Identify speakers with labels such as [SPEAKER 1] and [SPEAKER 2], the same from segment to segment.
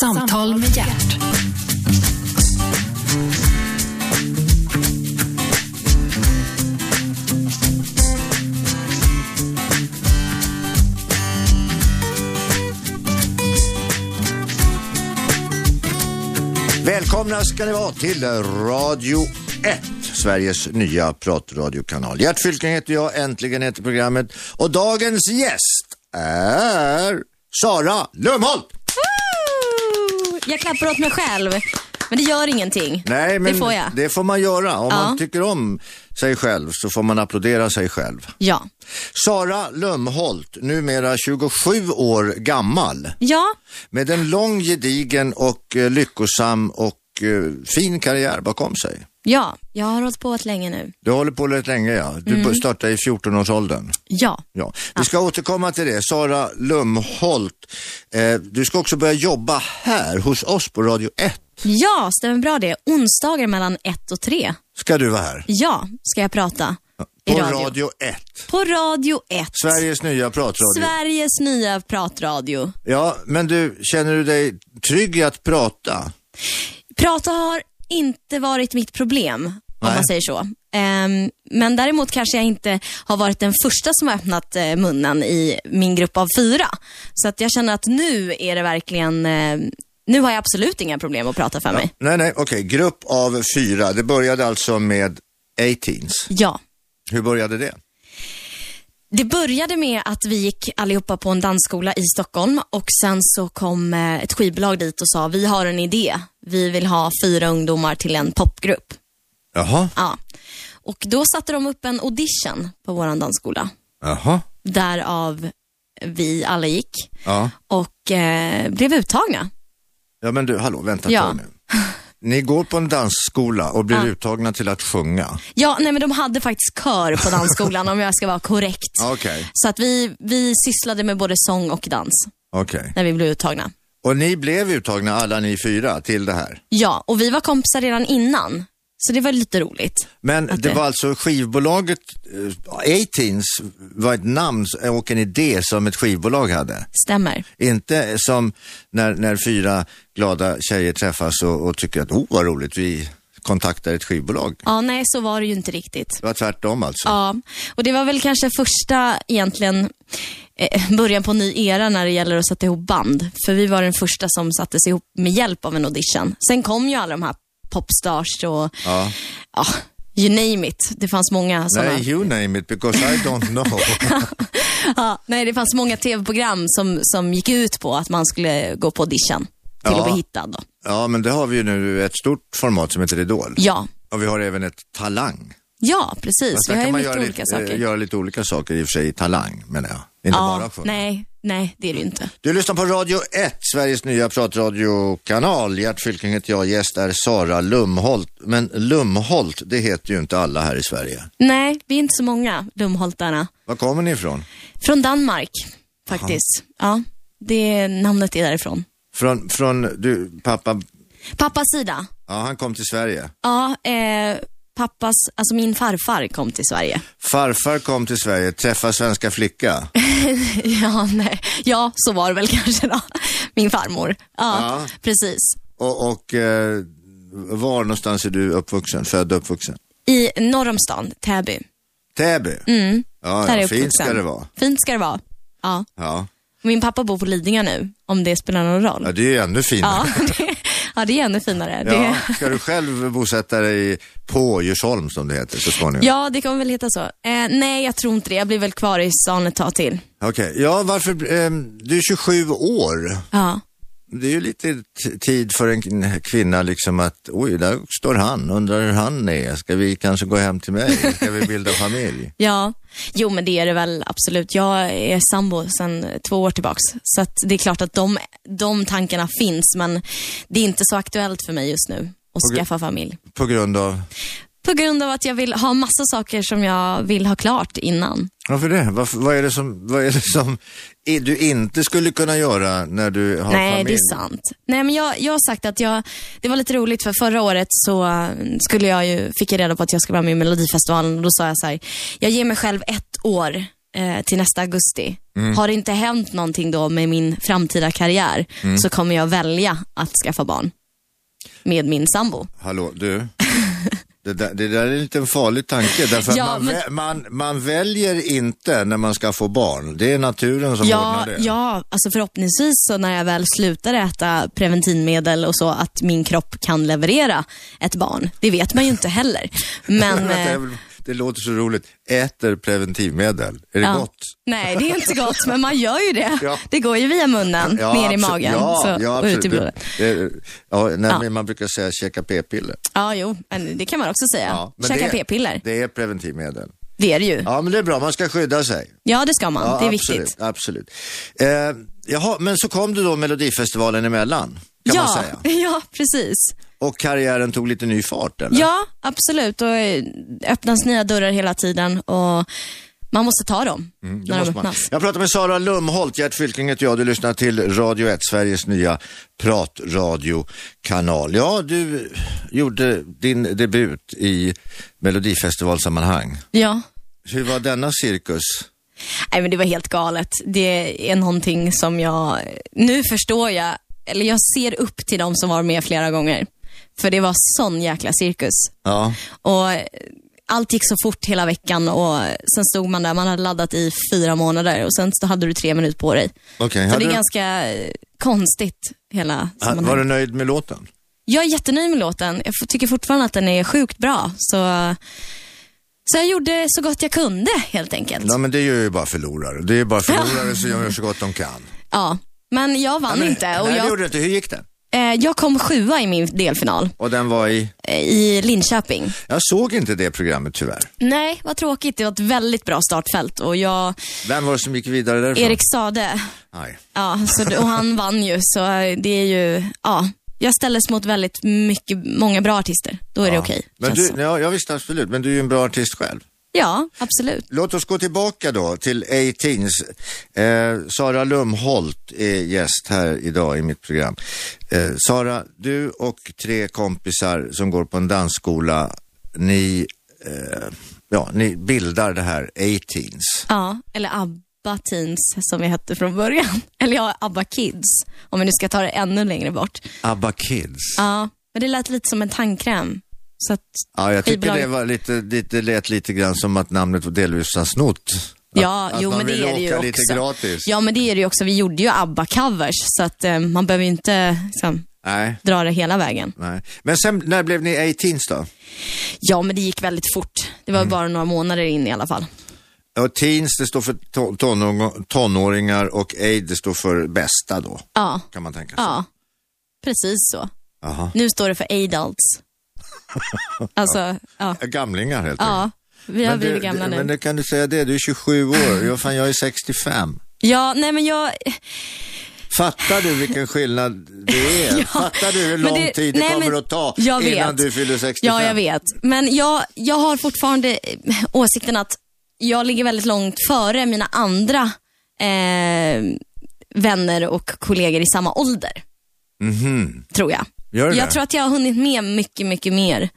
[SPEAKER 1] Samtal med hjärt.
[SPEAKER 2] Välkomna ska ni vara till Radio 1, Sveriges nya pratradiokanal. Gert Fylking heter jag, äntligen heter programmet och dagens gäst är Sara Lumholt.
[SPEAKER 3] Woo! Jag klappar åt mig själv. Men det gör ingenting.
[SPEAKER 2] Nej, men
[SPEAKER 3] det får jag.
[SPEAKER 2] det får man göra. Om
[SPEAKER 3] Ja.
[SPEAKER 2] man tycker om sig själv så får man applådera sig själv.
[SPEAKER 3] Ja.
[SPEAKER 2] Sara Lumholt, numera 27 år gammal.
[SPEAKER 3] Ja,
[SPEAKER 2] Med en lång, gedigen och eh, lyckosam och eh, fin karriär bakom sig.
[SPEAKER 3] ja. Jag har hållit på ett länge nu.
[SPEAKER 2] Du håller på rätt länge ja. Du startade i 14-årsåldern.
[SPEAKER 3] Mm. Ja.
[SPEAKER 2] Ja. Vi ska återkomma till det. Sara Lumholt, eh, du ska också börja jobba här hos oss på Radio 1.
[SPEAKER 3] Ja, stämmer bra det. Onsdagar mellan 1 och 3.
[SPEAKER 2] Ska du vara här?
[SPEAKER 3] Ja, ska jag prata. I
[SPEAKER 2] På
[SPEAKER 3] radio.
[SPEAKER 2] Radio 1.
[SPEAKER 3] På radio 1.
[SPEAKER 2] Sveriges nya pratradio.
[SPEAKER 3] Sveriges nya pratradio.
[SPEAKER 2] ja, men du, känner du dig trygg i att prata?
[SPEAKER 3] Prata har inte varit mitt problem, om
[SPEAKER 2] Nej.
[SPEAKER 3] man säger så. Ehm, men däremot kanske jag inte har varit den första som har öppnat eh, munnen i min grupp av fyra. Så att jag känner att nu är det verkligen, eh, nu har jag absolut inga problem att prata för mig.
[SPEAKER 2] Nej, nej, okej. Grupp av fyra. Det började alltså med 18s.
[SPEAKER 3] Ja.
[SPEAKER 2] Hur började det?
[SPEAKER 3] Det började med att vi gick allihopa på en dansskola i Stockholm och sen så kom eh, ett skivbolag dit och sa, vi har en idé. Vi vill ha fyra ungdomar till en popgrupp.
[SPEAKER 2] Jaha,
[SPEAKER 3] Ja. Och då satte de upp en audition på vår dansskola.
[SPEAKER 2] jaha,
[SPEAKER 3] Därav vi alla gick
[SPEAKER 2] ja.
[SPEAKER 3] och eh, blev uttagna.
[SPEAKER 2] Ja, men du, hallå, vänta
[SPEAKER 3] Ja.
[SPEAKER 2] ett tag nu. Ni går på en dansskola och blir
[SPEAKER 3] Ja.
[SPEAKER 2] uttagna till att sjunga.
[SPEAKER 3] Ja, nej men de hade faktiskt kör på dansskolan om jag ska vara korrekt.
[SPEAKER 2] Okej,
[SPEAKER 3] Så att vi, vi sysslade med både sång och dans
[SPEAKER 2] okej.
[SPEAKER 3] när vi blev uttagna.
[SPEAKER 2] Och ni blev uttagna alla ni fyra till det här.
[SPEAKER 3] Ja, och vi var kompisar redan innan. Så det var lite roligt.
[SPEAKER 2] Men det
[SPEAKER 3] det-
[SPEAKER 2] var alltså skivbolaget, eh, 18s var ett namn eh, och en idé som ett skivbolag hade.
[SPEAKER 3] Stämmer.
[SPEAKER 2] Inte som när, när fyra glada tjejer träffas och, och tycker att, oh vad roligt, vi kontaktar ett skivbolag.
[SPEAKER 3] Ja, nej så var det ju inte riktigt.
[SPEAKER 2] Det var tvärtom alltså.
[SPEAKER 3] Ja, och det var väl kanske första egentligen eh, början på en ny era när det gäller att sätta ihop band. För vi var den första som sattes ihop med hjälp av en audition. Sen kom ju alla de här popstars och
[SPEAKER 2] Ja.
[SPEAKER 3] ja, you name it. Det fanns många sådana.
[SPEAKER 2] Nej, you name it, because I don't know.
[SPEAKER 3] Ja, nej, det fanns många tv-program som, som gick ut på att man skulle gå på audition till
[SPEAKER 2] Ja.
[SPEAKER 3] att bli hittad. Då.
[SPEAKER 2] ja, men det har vi ju nu ett stort format som heter Idol.
[SPEAKER 3] Ja.
[SPEAKER 2] Och vi har även ett Talang.
[SPEAKER 3] ja, precis.
[SPEAKER 2] Fast
[SPEAKER 3] Vi
[SPEAKER 2] där
[SPEAKER 3] har
[SPEAKER 2] kan
[SPEAKER 3] ju
[SPEAKER 2] man
[SPEAKER 3] mycket
[SPEAKER 2] göra
[SPEAKER 3] olika
[SPEAKER 2] lite,
[SPEAKER 3] saker.
[SPEAKER 2] eh, göra lite olika saker i och för sig i Talang, menar jag. Inte bara
[SPEAKER 3] ja,
[SPEAKER 2] sjunga.
[SPEAKER 3] nej, nej, det är det ju inte.
[SPEAKER 2] Du lyssnar på Radio 1, Sveriges nya pratradiokanal. Gert Fylking heter jag, gäst är Sara Lumholt. Men Lumholt, det heter ju inte alla här i Sverige.
[SPEAKER 3] Nej, vi är inte så många dumholtarna.
[SPEAKER 2] Var kommer ni ifrån?
[SPEAKER 3] Från Danmark, faktiskt. Ja, det namnet är därifrån.
[SPEAKER 2] Från, från du, pappa,
[SPEAKER 3] Pappas sida.
[SPEAKER 2] ja han kom till Sverige.
[SPEAKER 3] Ja, eh, pappas, alltså min farfar kom till Sverige.
[SPEAKER 2] Farfar kom till Sverige, träffa svenska flicka.
[SPEAKER 3] ja, nej. ja, så var det väl kanske då. Min farmor. Ja,
[SPEAKER 2] Ja.
[SPEAKER 3] precis.
[SPEAKER 2] Och, och eh, var någonstans är du uppvuxen, född och uppvuxen?
[SPEAKER 3] I norr om stan, Täby.
[SPEAKER 2] Täby?
[SPEAKER 3] Mm, där
[SPEAKER 2] Ja,
[SPEAKER 3] är
[SPEAKER 2] ja
[SPEAKER 3] jag
[SPEAKER 2] fint ska
[SPEAKER 3] uppvuxen.
[SPEAKER 2] det vara.
[SPEAKER 3] Fint ska det vara. Ja.
[SPEAKER 2] Ja.
[SPEAKER 3] Min pappa bor på Lidingö nu, om det spelar någon
[SPEAKER 2] ja,
[SPEAKER 3] roll.
[SPEAKER 2] det är ju ännu finare.
[SPEAKER 3] Ja, det, ja, det är ännu finare.
[SPEAKER 2] Ja,
[SPEAKER 3] Det,
[SPEAKER 2] ska du själv bosätta dig på Djursholm som det heter så småningom?
[SPEAKER 3] ja, det kommer väl heta så. Eh, nej, jag tror inte det. Jag blir väl kvar i stan ett tag till.
[SPEAKER 2] Okej, ja varför, ehm, du är 27 år.
[SPEAKER 3] Ja.
[SPEAKER 2] Det är ju lite t- tid för en k- kvinna liksom att, oj, där står han, undrar hur han är. Ska vi kanske gå hem till mig? Ska vi bilda familj?
[SPEAKER 3] Ja, jo men det är det väl absolut. Jag är sambo sedan två år tillbaks. Så att det är klart att de, de tankarna finns, men det är inte så aktuellt för mig just nu att
[SPEAKER 2] Okej.
[SPEAKER 3] skaffa familj.
[SPEAKER 2] På grund av,
[SPEAKER 3] På grund av att jag vill ha massa saker som jag vill ha klart innan.
[SPEAKER 2] varför det? Varför, vad är det som, vad är det som i- du inte skulle kunna göra när du har
[SPEAKER 3] Nej,
[SPEAKER 2] familj?
[SPEAKER 3] det är sant. Nej, men jag, jag har sagt att jag, det var lite roligt för förra året så eh, skulle jag ju, fick jag reda på att jag skulle vara med i Melodifestivalen och då sa jag så här, jag ger mig själv ett år eh, till nästa augusti.
[SPEAKER 2] Mm.
[SPEAKER 3] Har det inte hänt någonting då med min framtida karriär
[SPEAKER 2] Mm.
[SPEAKER 3] så kommer jag välja att skaffa barn med min sambo.
[SPEAKER 2] Hallå, du. Det där, det där är en liten farlig tanke, därför att
[SPEAKER 3] Ja,
[SPEAKER 2] man,
[SPEAKER 3] men-
[SPEAKER 2] vä- man, man väljer inte när man ska få barn. Det är naturen som
[SPEAKER 3] Ja,
[SPEAKER 2] ordnar det.
[SPEAKER 3] ja, alltså förhoppningsvis så när jag väl slutar äta preventivmedel och så att min kropp kan leverera ett barn. Det vet man ju inte heller. Men,
[SPEAKER 2] Vänta, jag
[SPEAKER 3] eh,
[SPEAKER 2] vill- det låter så roligt. Äter preventivmedel, är det
[SPEAKER 3] ja.
[SPEAKER 2] gott?
[SPEAKER 3] Nej, det är inte gott, men man gör ju det.
[SPEAKER 2] Ja.
[SPEAKER 3] Det går ju via munnen, ner Mm, i
[SPEAKER 2] absolut.
[SPEAKER 3] magen
[SPEAKER 2] Ja,
[SPEAKER 3] så,
[SPEAKER 2] ja,
[SPEAKER 3] och ut i
[SPEAKER 2] absolut.
[SPEAKER 3] blodet.
[SPEAKER 2] Det, det, ja, nej,
[SPEAKER 3] Ja.
[SPEAKER 2] men Man brukar säga käka p-piller.
[SPEAKER 3] Ja, jo, men det kan man också säga.
[SPEAKER 2] Ja, men
[SPEAKER 3] Käka
[SPEAKER 2] det-
[SPEAKER 3] p-piller,
[SPEAKER 2] Det är preventivmedel.
[SPEAKER 3] det är det ju. Ja,
[SPEAKER 2] Ja, men det är bra. Man ska skydda sig.
[SPEAKER 3] det ska man.
[SPEAKER 2] Ja,
[SPEAKER 3] det är
[SPEAKER 2] absolut,
[SPEAKER 3] viktigt.
[SPEAKER 2] Absolut. Eh, jaha, men så kom du då Melodifestivalen emellan, kan man
[SPEAKER 3] ja,
[SPEAKER 2] säga.
[SPEAKER 3] ja, precis.
[SPEAKER 2] Och karriären tog lite ny fart, eller?
[SPEAKER 3] Ja, absolut. Och eh, öppnas nya dörrar hela tiden och man måste ta dem
[SPEAKER 2] Mm, Det
[SPEAKER 3] när de
[SPEAKER 2] måste man.
[SPEAKER 3] öppnas.
[SPEAKER 2] Jag pratar med Sara Lumholt, Gert Fylking heter jag. Du lyssnar till Radio 1, Sveriges nya pratradiokanal. Ja, du gjorde din debut i Melodifestivalsammanhang.
[SPEAKER 3] Ja.
[SPEAKER 2] Hur var denna cirkus?
[SPEAKER 3] Nej, men det var helt galet. Det är någonting som jag, nu förstår jag, eller jag ser upp till de som var med flera gånger. För det var sån jäkla cirkus.
[SPEAKER 2] Ja,
[SPEAKER 3] Och eh, allt gick så fort hela veckan och sen stod man där, man hade laddat i fyra månader och sen så hade du tre minuter på dig.
[SPEAKER 2] okej.
[SPEAKER 3] Så det
[SPEAKER 2] Hade
[SPEAKER 3] är
[SPEAKER 2] du-
[SPEAKER 3] ganska eh, konstigt hela
[SPEAKER 2] ha-
[SPEAKER 3] sammanhanget.
[SPEAKER 2] Var du nöjd med låten?
[SPEAKER 3] Jag är jättenöjd med låten. Jag f- tycker fortfarande att den är sjukt bra. Så, så jag gjorde så gott jag kunde helt enkelt.
[SPEAKER 2] Ja, men det gör ju bara förlorare. Det är bara förlorare som gör så gott de kan.
[SPEAKER 3] Ja, men jag vann
[SPEAKER 2] men,
[SPEAKER 3] inte. Och
[SPEAKER 2] nej, det
[SPEAKER 3] jag,
[SPEAKER 2] gjorde du inte. Hur gick det?
[SPEAKER 3] eh, jag kom sjua i min delfinal
[SPEAKER 2] Och den var i...
[SPEAKER 3] eh, i Linköping.
[SPEAKER 2] Jag såg inte det programmet tyvärr.
[SPEAKER 3] Nej, vad tråkigt. Det var ett väldigt bra startfält och jag,
[SPEAKER 2] Vem var det som gick vidare därifrån?
[SPEAKER 3] Erik Sade,
[SPEAKER 2] Nej.
[SPEAKER 3] ja, så, och han vann ju. Så eh, det är ju, ja. Jag ställdes mot väldigt mycket, många bra artister. Då är det okej.
[SPEAKER 2] Men
[SPEAKER 3] känns
[SPEAKER 2] du,
[SPEAKER 3] så.
[SPEAKER 2] ja, jag visste absolut, men du är ju en bra artist själv.
[SPEAKER 3] Ja, absolut.
[SPEAKER 2] Låt oss gå tillbaka då till A-Teens. Eh, Sara Lumholt är gäst här idag i mitt program. Eh, Sara, du och tre kompisar som går på en dansskola, ni, eh, ja, ni bildar det här A-Teens.
[SPEAKER 3] Ja, eller ABBA Teens som vi hette från början. Eller ja, ABBA Kids, om vi nu ska ta det ännu längre bort.
[SPEAKER 2] ABBA Kids.
[SPEAKER 3] Ja, men det lät lite som en tandkräm. Så att,
[SPEAKER 2] Ja, jag tycker det,
[SPEAKER 3] Skivbolaget.
[SPEAKER 2] var lite, lite, lät lite grann som att namnet var delvis har snott. Att,
[SPEAKER 3] ja,
[SPEAKER 2] att
[SPEAKER 3] jo
[SPEAKER 2] man
[SPEAKER 3] men
[SPEAKER 2] ville
[SPEAKER 3] det är det ju
[SPEAKER 2] åka
[SPEAKER 3] också.
[SPEAKER 2] lite gratis.
[SPEAKER 3] Ja, men det är det ju också. Vi gjorde ju ABBA-covers, så att eh, man behöver ju inte liksom,
[SPEAKER 2] Nej,
[SPEAKER 3] dra det hela vägen.
[SPEAKER 2] nej. Men sen, när blev ni A-Teens då?
[SPEAKER 3] Ja, men det gick väldigt fort. Det
[SPEAKER 2] Mm.
[SPEAKER 3] var bara några månader in i alla fall.
[SPEAKER 2] Ja, teens det står för to- tonång- tonåringar och aid det står för bästa då,
[SPEAKER 3] Ja,
[SPEAKER 2] kan man tänka sig.
[SPEAKER 3] ja. Precis så.
[SPEAKER 2] Jaha.
[SPEAKER 3] Nu står det för adults. Alltså, ja.
[SPEAKER 2] Gamlingar helt enkelt.
[SPEAKER 3] ja. Vi har
[SPEAKER 2] Men du-
[SPEAKER 3] blivit gamla
[SPEAKER 2] du-
[SPEAKER 3] nu.
[SPEAKER 2] Men det kan du säga det, du är 27 år, jag, fan, jag är 65.
[SPEAKER 3] Ja, nej men jag...
[SPEAKER 2] Fattar du vilken skillnad det är? Fattar du hur
[SPEAKER 3] men
[SPEAKER 2] lång
[SPEAKER 3] det-
[SPEAKER 2] tid det
[SPEAKER 3] nej,
[SPEAKER 2] kommer
[SPEAKER 3] men
[SPEAKER 2] att ta
[SPEAKER 3] jag
[SPEAKER 2] innan
[SPEAKER 3] vet.
[SPEAKER 2] du fyller 65?
[SPEAKER 3] Ja, jag vet. Men jag, jag har fortfarande eh, åsikten att jag ligger väldigt långt före mina andra eh, vänner och kollegor i samma ålder,
[SPEAKER 2] Mhm.
[SPEAKER 3] tror jag.
[SPEAKER 2] Gör du
[SPEAKER 3] Jag
[SPEAKER 2] det?
[SPEAKER 3] tror att jag har hunnit med mycket, mycket mer.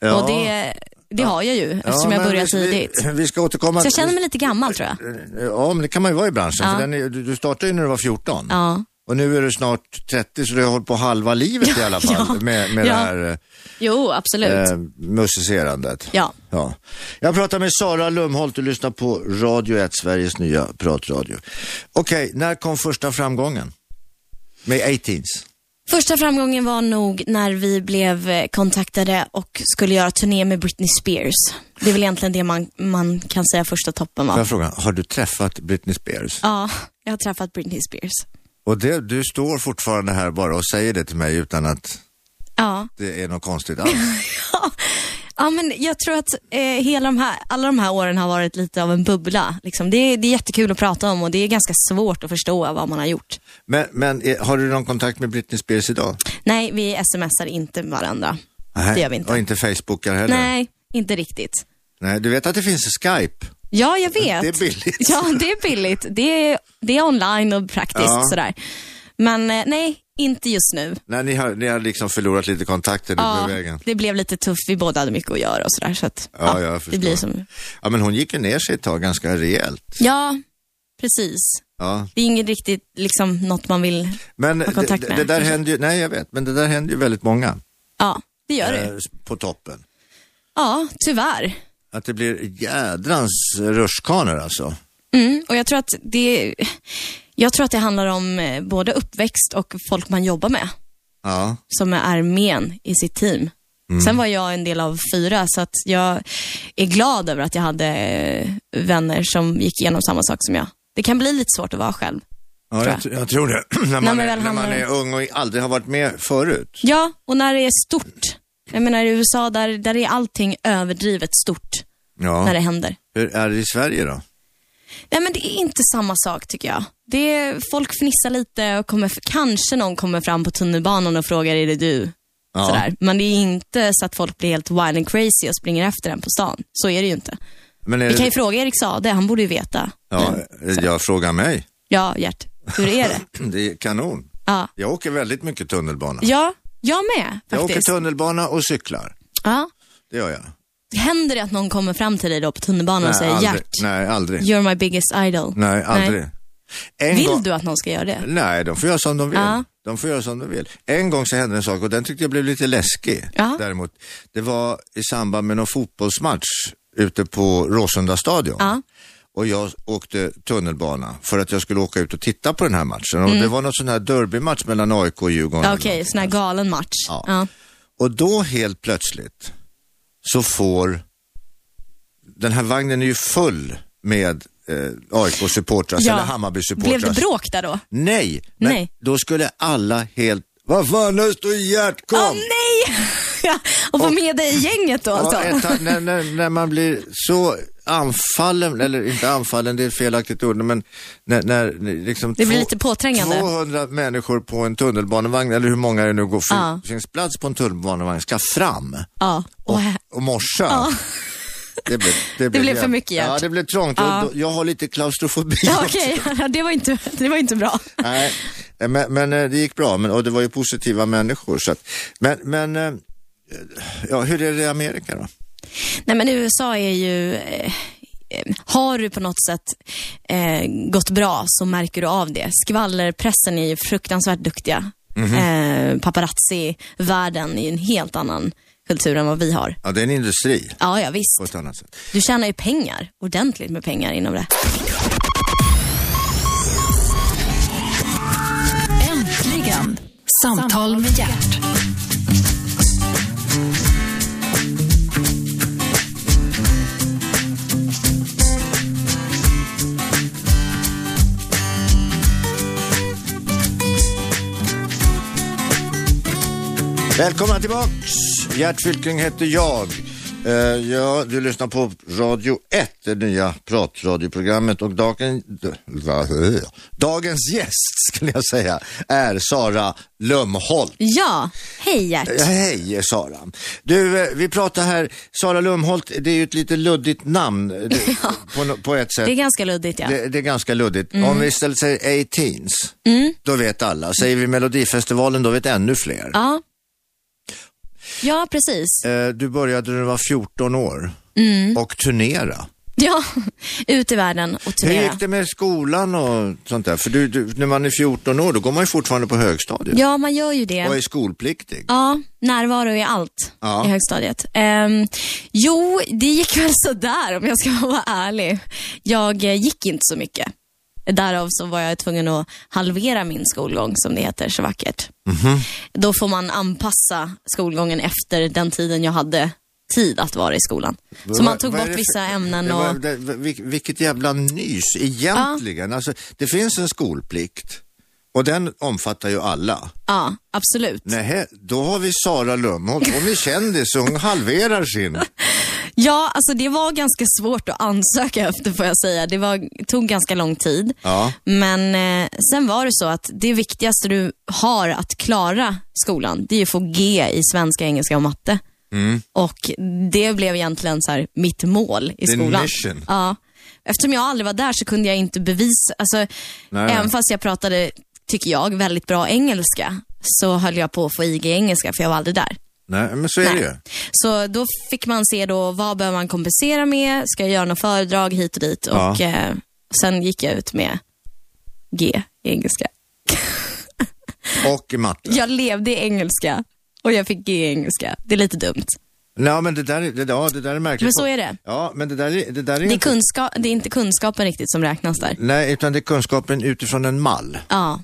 [SPEAKER 2] Ja.
[SPEAKER 3] Och det, det har jag ju,
[SPEAKER 2] Ja,
[SPEAKER 3] eftersom jag
[SPEAKER 2] men
[SPEAKER 3] började
[SPEAKER 2] vi-
[SPEAKER 3] tidigt.
[SPEAKER 2] Vi, vi ska återkomma
[SPEAKER 3] Så jag känner mig lite gammal, tror jag.
[SPEAKER 2] Ja, men det kan man ju vara i branschen. För den är, du, du startade ju när du var 14.
[SPEAKER 3] Ja.
[SPEAKER 2] Och nu är du snart 30 så du har hållit på halva livet i alla fall
[SPEAKER 3] ja,
[SPEAKER 2] med, med
[SPEAKER 3] ja.
[SPEAKER 2] det här
[SPEAKER 3] Jo, absolut.
[SPEAKER 2] eh, musicerandet.
[SPEAKER 3] Ja.
[SPEAKER 2] Ja. Jag pratar med Sara Lumholt, du lyssnar på Radio 1, Sveriges nya pratradio. Okej, när kom första framgången? Med 18s?
[SPEAKER 3] Första framgången var nog när vi blev eh, kontaktade och skulle göra turné med Britney Spears. Det är väl egentligen det man, man kan säga första toppen
[SPEAKER 2] Får
[SPEAKER 3] var.
[SPEAKER 2] jag fråga, har du träffat Britney Spears?
[SPEAKER 3] Ja, jag har träffat Britney Spears.
[SPEAKER 2] Och det, du står fortfarande här bara och säger det till mig utan att
[SPEAKER 3] Ja,
[SPEAKER 2] det är något konstigt alls.
[SPEAKER 3] ja men jag tror att eh, hela de här, alla de här åren har varit lite av en bubbla. Liksom. Det, är, det är jättekul att prata om och det är ganska svårt att förstå vad man har gjort.
[SPEAKER 2] Men, men eh, har du någon kontakt med Britney Spears idag?
[SPEAKER 3] Nej, vi smsar inte varandra.
[SPEAKER 2] Nej,
[SPEAKER 3] Det gör vi inte.
[SPEAKER 2] Och inte Facebookar heller?
[SPEAKER 3] Nej, inte riktigt.
[SPEAKER 2] Nej, du vet att det finns Skype?
[SPEAKER 3] Ja, jag vet.
[SPEAKER 2] Det är billigt.
[SPEAKER 3] Ja, det är billigt. Det är, det är online och praktiskt
[SPEAKER 2] Ja.
[SPEAKER 3] sådär. Men eh, nej, inte just nu.
[SPEAKER 2] Nej, ni har, ni har liksom förlorat lite kontakter nu på vägen.
[SPEAKER 3] det blev lite tufft. Vi båda hade mycket att göra och sådär. Så att,
[SPEAKER 2] Ja, jag förstår.
[SPEAKER 3] det blir som...
[SPEAKER 2] Ja, men hon gick ju ner sig ett tag ganska rejält.
[SPEAKER 3] Ja, precis.
[SPEAKER 2] Ja.
[SPEAKER 3] Det är inget riktigt liksom, något man vill...
[SPEAKER 2] Men
[SPEAKER 3] Ha kontakt
[SPEAKER 2] det,
[SPEAKER 3] med
[SPEAKER 2] det där
[SPEAKER 3] kanske.
[SPEAKER 2] händer ju, nej jag vet, men det där händer ju väldigt många
[SPEAKER 3] Ja, det gör det.
[SPEAKER 2] eh, på toppen.
[SPEAKER 3] Ja, tyvärr.
[SPEAKER 2] Att det blir jädrans rutschkanor alltså.
[SPEAKER 3] Mm, och jag tror att det... Jag tror att det handlar om eh, både uppväxt och folk man jobbar med,
[SPEAKER 2] Ja.
[SPEAKER 3] som är armén i sitt team.
[SPEAKER 2] Mm.
[SPEAKER 3] Sen var jag en del av fyra, så att jag är glad över att jag hade eh, vänner som gick igenom samma sak som jag. Det kan bli lite svårt att vara själv.
[SPEAKER 2] Ja,
[SPEAKER 3] Tror
[SPEAKER 2] jag, tr- jag tror det. när man,
[SPEAKER 3] men
[SPEAKER 2] är,
[SPEAKER 3] väl
[SPEAKER 2] när man
[SPEAKER 3] handlar det-
[SPEAKER 2] är ung och aldrig har varit med förut.
[SPEAKER 3] Ja, och när det är stort. Jag menar i USA, där, där är allting överdrivet stort när
[SPEAKER 2] Ja.
[SPEAKER 3] det händer.
[SPEAKER 2] Hur är det i Sverige då?
[SPEAKER 3] Nej, men det är inte samma sak tycker jag. Det är, folk fnissar lite och kommer, kanske någon kommer fram på tunnelbanan och frågar, är det du?
[SPEAKER 2] Ja.
[SPEAKER 3] Sådär. Men det är inte så att folk blir helt wild and crazy och springer efter en på stan. Så är det ju inte.
[SPEAKER 2] Men är
[SPEAKER 3] Vi kan ju
[SPEAKER 2] det,
[SPEAKER 3] fråga Erik Sade, han borde ju veta.
[SPEAKER 2] ja,
[SPEAKER 3] Men-
[SPEAKER 2] jag frågar mig.
[SPEAKER 3] ja Gert, hur är det?
[SPEAKER 2] Det är kanon.
[SPEAKER 3] ja.
[SPEAKER 2] Jag åker väldigt mycket tunnelbana.
[SPEAKER 3] ja, jag med
[SPEAKER 2] Jag åker
[SPEAKER 3] faktiskt.
[SPEAKER 2] tunnelbana och cyklar.
[SPEAKER 3] ja.
[SPEAKER 2] Det gör jag.
[SPEAKER 3] Händer det att någon kommer fram till dig då på tunnelbanan och säger,
[SPEAKER 2] aldrig.
[SPEAKER 3] Gert,
[SPEAKER 2] Nej, aldrig.
[SPEAKER 3] you're my biggest idol?
[SPEAKER 2] Nej, aldrig. En gång-
[SPEAKER 3] Vill du att någon ska göra det?
[SPEAKER 2] Nej, de får göra som de vill.
[SPEAKER 3] Ja.
[SPEAKER 2] De får göra som de vill. En gång så hände en sak och den tyckte jag blev lite läskig
[SPEAKER 3] Ja.
[SPEAKER 2] däremot. Det var i samband med någon fotbollsmatch ute på Råsunda stadion.
[SPEAKER 3] Ja.
[SPEAKER 2] Och jag åkte tunnelbana för att jag skulle åka ut och titta på den här matchen. Och det var någon sån här derbymatch mellan AIK och Djurgården.
[SPEAKER 3] Mm. Ja,
[SPEAKER 2] eller
[SPEAKER 3] Okej, sån här galen match.
[SPEAKER 2] alltså. Ja.
[SPEAKER 3] Ja.
[SPEAKER 2] Och då helt plötsligt så får, den här vagnen är ju full med eh, AIK-supportrar
[SPEAKER 3] Ja.
[SPEAKER 2] eller Hammarby-supportrar.
[SPEAKER 3] Blev det bråk där då?
[SPEAKER 2] Nej, men
[SPEAKER 3] Nej.
[SPEAKER 2] då skulle alla helt, vad fan, nu står Gert, kom!
[SPEAKER 3] Åh nej! Ja, och få med dig i gänget då alltså.
[SPEAKER 2] Ja, ett, tag- när, när, när man blir så anfallen, eller inte anfallen, det är ett felaktigt ord, men när, när liksom
[SPEAKER 3] Det blir
[SPEAKER 2] två-
[SPEAKER 3] lite påträngande.
[SPEAKER 2] 200 människor på en tunnelbanevagn, eller hur många det nu går, fin,
[SPEAKER 3] Ja.
[SPEAKER 2] finns plats på en tunnelbanevagn, ska fram
[SPEAKER 3] Ja.
[SPEAKER 2] och,
[SPEAKER 3] Och här-
[SPEAKER 2] och morsa. Det blev, det
[SPEAKER 3] blev för
[SPEAKER 2] jäv-
[SPEAKER 3] mycket, Gert.
[SPEAKER 2] Ja, det blev trångt.
[SPEAKER 3] Ja.
[SPEAKER 2] Och då, jag har lite klaustrofobi
[SPEAKER 3] Ja,
[SPEAKER 2] också.
[SPEAKER 3] Okej, ja, det, var inte, det var inte bra.
[SPEAKER 2] Nej, men, men eh, det gick bra men, och det var ju positiva människor. Så att, men men eh, ja, hur är det i Amerika då?
[SPEAKER 3] Nej men USA är ju, eh, eh, har du på något sätt eh, gått bra så märker du av det. Skvallerpressen är ju fruktansvärt duktiga.
[SPEAKER 2] Mhm.
[SPEAKER 3] Eh, Paparazzi-världen är ju en helt annan kultur än vad vi har.
[SPEAKER 2] Ja, det är en industri
[SPEAKER 3] Ja,
[SPEAKER 2] på
[SPEAKER 3] ja
[SPEAKER 2] ett
[SPEAKER 3] visst.
[SPEAKER 2] annat sätt.
[SPEAKER 3] Du tjänar ju pengar, ordentligt med pengar inom det.
[SPEAKER 1] Äntligen! Samtal med hjärt.
[SPEAKER 2] Välkomna tillbaks! Gert Fylking heter jag. Eh, ja, du lyssnar på Radio 1, det nya pratradioprogrammet och dagen, d- va- eh, dagens gäst skulle jag säga är Sara Lumholt.
[SPEAKER 3] Ja, hej Gert.
[SPEAKER 2] Ja, hej Sara. Du, eh, vi pratar här, Sara Lumholt, det är ju ett lite luddigt namn eh, det, på, no- på ett sätt.
[SPEAKER 3] Det är
[SPEAKER 2] Det...
[SPEAKER 3] ganska luddigt ja. Mm.
[SPEAKER 2] Det, är ganska luddigt. Om vi istället säger 18s, då vet alla. Säger vi Melodifestivalen, då vet ännu fler.
[SPEAKER 3] Ja. Ja, precis.
[SPEAKER 2] Eh, Du började när du var 14 år
[SPEAKER 3] Mm.
[SPEAKER 2] och turnera.
[SPEAKER 3] Ja, ut i världen och
[SPEAKER 2] Hur
[SPEAKER 3] turnera.
[SPEAKER 2] gick det med skolan och sånt där? För du, du, när man är 14 år, då går man ju fortfarande på högstadiet
[SPEAKER 3] Ja, man gör ju
[SPEAKER 2] och
[SPEAKER 3] det.
[SPEAKER 2] är skolpliktig.
[SPEAKER 3] Ja, närvaro är allt
[SPEAKER 2] Ja.
[SPEAKER 3] i högstadiet. Ehm, jo, det gick väl sådär om jag ska vara ärlig. Jag eh, gick inte så mycket. Därav så var jag tvungen att halvera min skolgång, som det heter så vackert.
[SPEAKER 2] Mhm.
[SPEAKER 3] Då får man anpassa skolgången efter den tiden jag hade tid att vara i skolan. Så man
[SPEAKER 2] Vad-
[SPEAKER 3] tog
[SPEAKER 2] vad är
[SPEAKER 3] bort
[SPEAKER 2] det för-
[SPEAKER 3] vissa ämnen
[SPEAKER 2] det var-
[SPEAKER 3] och...
[SPEAKER 2] det- vil- vilket jävla nys egentligen. Alltså, det finns en skolplikt och den omfattar ju alla.
[SPEAKER 3] Ja, absolut.
[SPEAKER 2] Nähä, då har vi Sara Lumholt. Hon är kändis och hon halverar sin.
[SPEAKER 3] Ja, alltså det var ganska svårt att ansöka efter får jag säga. Det var, tog ganska lång tid.
[SPEAKER 2] Ja.
[SPEAKER 3] Men eh, sen var det så att det viktigaste du har att klara skolan, det är att få G i svenska, engelska och matte.
[SPEAKER 2] Mm.
[SPEAKER 3] Och det blev egentligen så här mitt mål i
[SPEAKER 2] Din
[SPEAKER 3] skolan.
[SPEAKER 2] mission.
[SPEAKER 3] Ja. Eftersom jag aldrig var där så kunde jag inte bevisa, alltså,
[SPEAKER 2] Nej.
[SPEAKER 3] även fast jag pratade, tycker jag, väldigt bra engelska så höll jag på att få IG i engelska för jag var aldrig där.
[SPEAKER 2] Nej, men så är det ju.
[SPEAKER 3] Så då fick man se då, vad behöver man kompensera med? Ska jag göra något föredrag hit och dit?
[SPEAKER 2] Ja.
[SPEAKER 3] Och eh, sen gick jag ut med G i engelska.
[SPEAKER 2] Och i matte.
[SPEAKER 3] Jag levde i engelska och jag fick G i engelska. Det är lite dumt.
[SPEAKER 2] Nej, men det där, är- det, ja, det där är märkligt.
[SPEAKER 3] Men så är det.
[SPEAKER 2] Ja, men det där, är- det där är
[SPEAKER 3] Det är,
[SPEAKER 2] inte...
[SPEAKER 3] kunska- det är inte kunskapen riktigt som räknas där.
[SPEAKER 2] Nej, utan det är kunskapen utifrån en mall.
[SPEAKER 3] Ja,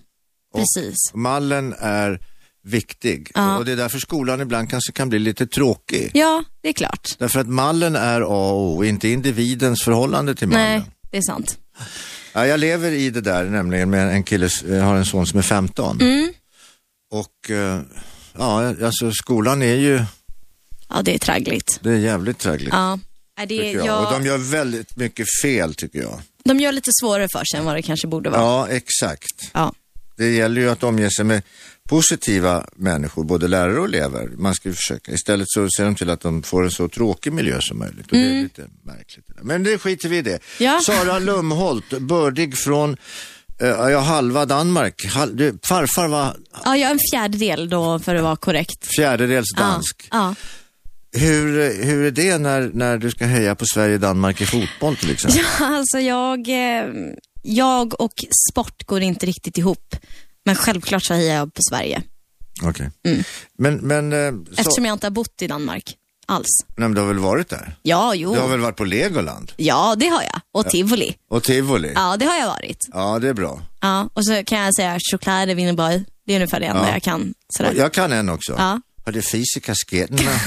[SPEAKER 3] precis.
[SPEAKER 2] Mallen är viktig och det är därför skolan ibland kanske kan bli lite tråkig.
[SPEAKER 3] Ja, det är klart.
[SPEAKER 2] Därför att mallen är A och O, inte individens förhållande till mallen.
[SPEAKER 3] Nej, det är sant.
[SPEAKER 2] Ja, jag lever i det där nämligen med en kille, s- jag har en son som är 15.
[SPEAKER 3] Mm.
[SPEAKER 2] Och eh, ja, alltså skolan är ju,
[SPEAKER 3] Ja, det är traggligt.
[SPEAKER 2] det är jävligt traggligt.
[SPEAKER 3] Ja. Nej, Det,
[SPEAKER 2] tycker
[SPEAKER 3] jag,
[SPEAKER 2] jag. Och de gör väldigt mycket fel tycker jag.
[SPEAKER 3] de gör lite svårare för sig än vad det kanske borde vara.
[SPEAKER 2] Ja, exakt.
[SPEAKER 3] Ja.
[SPEAKER 2] Det gäller ju att omge sig med positiva människor, både lärare och elever. Man ska ju försöka. Istället så ser de till att de får en så tråkig miljö som möjligt. Och Det är lite märkligt. det där. Men det skiter vi i det.
[SPEAKER 3] Mm. Ja.
[SPEAKER 2] Sara Lumholt, bördig från eh, ja, halva Danmark. Hal, du, farfar var
[SPEAKER 3] Ja, jag är en fjärdedel då för att vara korrekt.
[SPEAKER 2] fjärdedels dansk.
[SPEAKER 3] Ja,
[SPEAKER 2] Hur, eh, hur är det när, när du ska heja på Sverige-Danmark i fotboll till exempel?
[SPEAKER 3] ja. ja alltså jag, eh, jag och sport går inte riktigt ihop. Men självklart så hejar jag på Sverige.
[SPEAKER 2] Okej. Men, men, eh, så,
[SPEAKER 3] Mm. Eftersom jag inte har bott i Danmark alls.
[SPEAKER 2] nej, men du har väl varit där?
[SPEAKER 3] Ja, jo.
[SPEAKER 2] Du har väl varit på Legoland?
[SPEAKER 3] Ja, det har jag. Och tivoli.
[SPEAKER 2] Och Tivoli?
[SPEAKER 3] Ja, det har jag varit.
[SPEAKER 2] Ja, det är bra.
[SPEAKER 3] Ja, och så kan jag säga choklad Wienerborg. Det är ungefär det enda jag kan. Sådär.
[SPEAKER 2] Jag kan en också.
[SPEAKER 3] Ja.
[SPEAKER 2] Har du fis i kasketerna?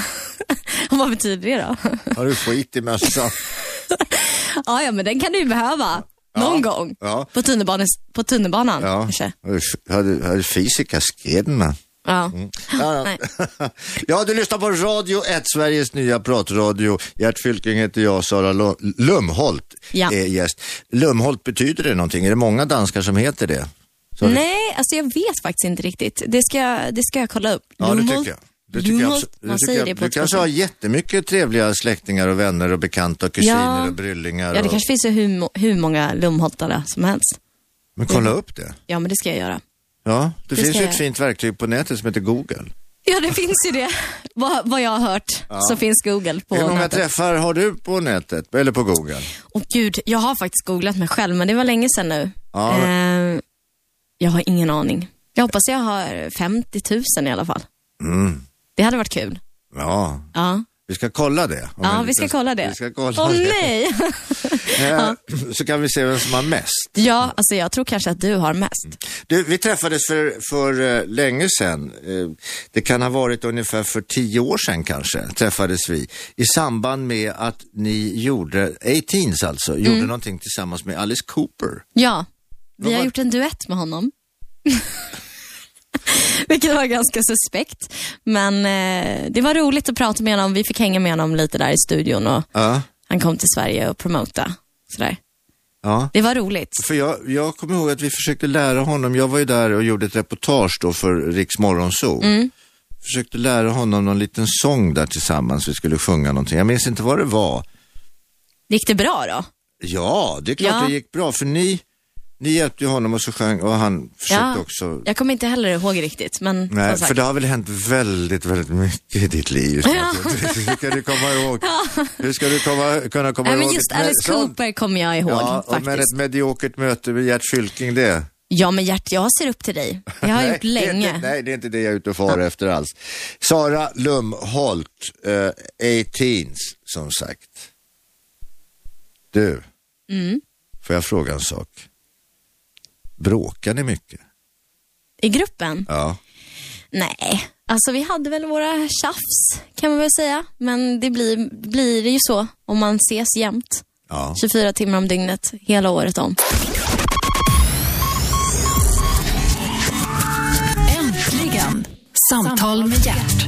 [SPEAKER 3] Och vad betyder det då?
[SPEAKER 2] Har du skit i mössan?
[SPEAKER 3] ja, ja, men den kan du ju behöva. Någon
[SPEAKER 2] Ja,
[SPEAKER 3] gång.
[SPEAKER 2] ja.
[SPEAKER 3] På, tunnelbanes, på tunnelbanan
[SPEAKER 2] Ja.
[SPEAKER 3] kanske.
[SPEAKER 2] Har du, har du, har du fis i kasketerna?
[SPEAKER 3] Mm. Ja.
[SPEAKER 2] Ja,
[SPEAKER 3] Nej.
[SPEAKER 2] ja. ja, du lyssnar på Radio 1, Sveriges nya pratradio. Gert Fylking heter jag, Sara Lo- Lumholt
[SPEAKER 3] Ja.
[SPEAKER 2] är gäst. Lumholt, betyder det någonting? Är det många danskar som heter det? Så-
[SPEAKER 3] Nej, alltså jag vet faktiskt inte riktigt. Det ska, jag- det ska jag kolla upp.
[SPEAKER 2] Ja, det
[SPEAKER 3] Lumholt-
[SPEAKER 2] tycker jag. Det tycker jag
[SPEAKER 3] Lumholt,
[SPEAKER 2] abso- det
[SPEAKER 3] man
[SPEAKER 2] tycker
[SPEAKER 3] säger
[SPEAKER 2] jag-
[SPEAKER 3] det på
[SPEAKER 2] du
[SPEAKER 3] ett
[SPEAKER 2] kanske har jättemycket trevliga släktingar och vänner och bekanta och kusiner
[SPEAKER 3] Ja.
[SPEAKER 2] och bryllingar.
[SPEAKER 3] Ja, det
[SPEAKER 2] och...
[SPEAKER 3] kanske finns ju hur, mo- hur många Lumholtare som helst.
[SPEAKER 2] Men kolla upp det.
[SPEAKER 3] Ja, men det ska jag göra.
[SPEAKER 2] Ja, det,
[SPEAKER 3] ska
[SPEAKER 2] finns ju ett
[SPEAKER 3] jag göra.
[SPEAKER 2] fint verktyg på nätet som heter Google.
[SPEAKER 3] Ja, det finns ju det. vad, vad jag har hört så finns Google på
[SPEAKER 2] Hur många
[SPEAKER 3] nätet.
[SPEAKER 2] träffar har du på nätet, eller på Google?
[SPEAKER 3] Och gud, jag har faktiskt googlat mig själv, men det var länge sedan nu.
[SPEAKER 2] Ja,
[SPEAKER 3] Eh, jag har ingen aning. Jag hoppas jag har 50 000 i alla fall.
[SPEAKER 2] Mm.
[SPEAKER 3] Det hade varit kul.
[SPEAKER 2] Ja,
[SPEAKER 3] Ja,
[SPEAKER 2] vi ska kolla det. om
[SPEAKER 3] ja
[SPEAKER 2] en
[SPEAKER 3] vi ska
[SPEAKER 2] liten-
[SPEAKER 3] kolla det.
[SPEAKER 2] Vi ska kolla
[SPEAKER 3] Åh
[SPEAKER 2] det.
[SPEAKER 3] nej!
[SPEAKER 2] Eh, Så kan vi se vem som har mest.
[SPEAKER 3] ja, alltså jag tror kanske att du har mest.
[SPEAKER 2] Du, vi träffades för, för eh, länge sedan. Eh, det kan ha varit ungefär för tio år sedan kanske, träffades vi. I samband med att ni gjorde, 18s alltså, gjorde
[SPEAKER 3] Mm.
[SPEAKER 2] någonting tillsammans med Alice Cooper.
[SPEAKER 3] Ja, vi har
[SPEAKER 2] var-
[SPEAKER 3] gjort en duett med honom. Vilket var ganska suspekt. Men eh, det var roligt att prata med honom. Vi fick hänga med honom lite där i studion och
[SPEAKER 2] Ja,
[SPEAKER 3] han kom till Sverige och promota. Sådär.
[SPEAKER 2] ja.
[SPEAKER 3] Det var roligt.
[SPEAKER 2] För jag, jag kommer ihåg att vi försökte lära honom, jag var ju där och gjorde ett reportage då för Riks Morgonzoo.
[SPEAKER 3] Mm.
[SPEAKER 2] Försökte lära honom någon liten sång där tillsammans, vi skulle sjunga någonting. Jag minns inte vad det var.
[SPEAKER 3] Gick det bra då?
[SPEAKER 2] Ja, det är klart
[SPEAKER 3] Ja.
[SPEAKER 2] det gick bra, för ni, ni hjälpte ju honom och så sjöng och han försökte också.
[SPEAKER 3] Jag kommer inte heller ihåg riktigt, men
[SPEAKER 2] Nej,
[SPEAKER 3] som sagt.
[SPEAKER 2] för det har väl hänt väldigt, väldigt mycket i ditt liv just nu. Hur ska du komma ihåg? Hur ska du komma, kunna komma
[SPEAKER 3] Nej,
[SPEAKER 2] ihåg?
[SPEAKER 3] men just
[SPEAKER 2] ett med-
[SPEAKER 3] Alice
[SPEAKER 2] sånt-
[SPEAKER 3] Cooper kommer jag ihåg
[SPEAKER 2] Ja, och
[SPEAKER 3] faktiskt.
[SPEAKER 2] men ett mediokert möte med Gert Fylking det.
[SPEAKER 3] Ja, men Gert, jag ser upp till dig. Det har jag gjort
[SPEAKER 2] det är
[SPEAKER 3] länge.
[SPEAKER 2] Inte, nej, det är inte det jag är ute och far efter alls. Sara Lumholt, eh, 18s, som sagt. Du,
[SPEAKER 3] Mm.
[SPEAKER 2] får jag fråga en sak? Bråkar ni mycket?
[SPEAKER 3] I gruppen?
[SPEAKER 2] Ja.
[SPEAKER 3] Nej. Alltså, vi hade väl våra tjafs, kan man väl säga. Men det blir, blir det ju så om man ses jämt.
[SPEAKER 2] ja.
[SPEAKER 3] 24 timmar om dygnet, hela året om.
[SPEAKER 1] Äntligen samtal med hjärt.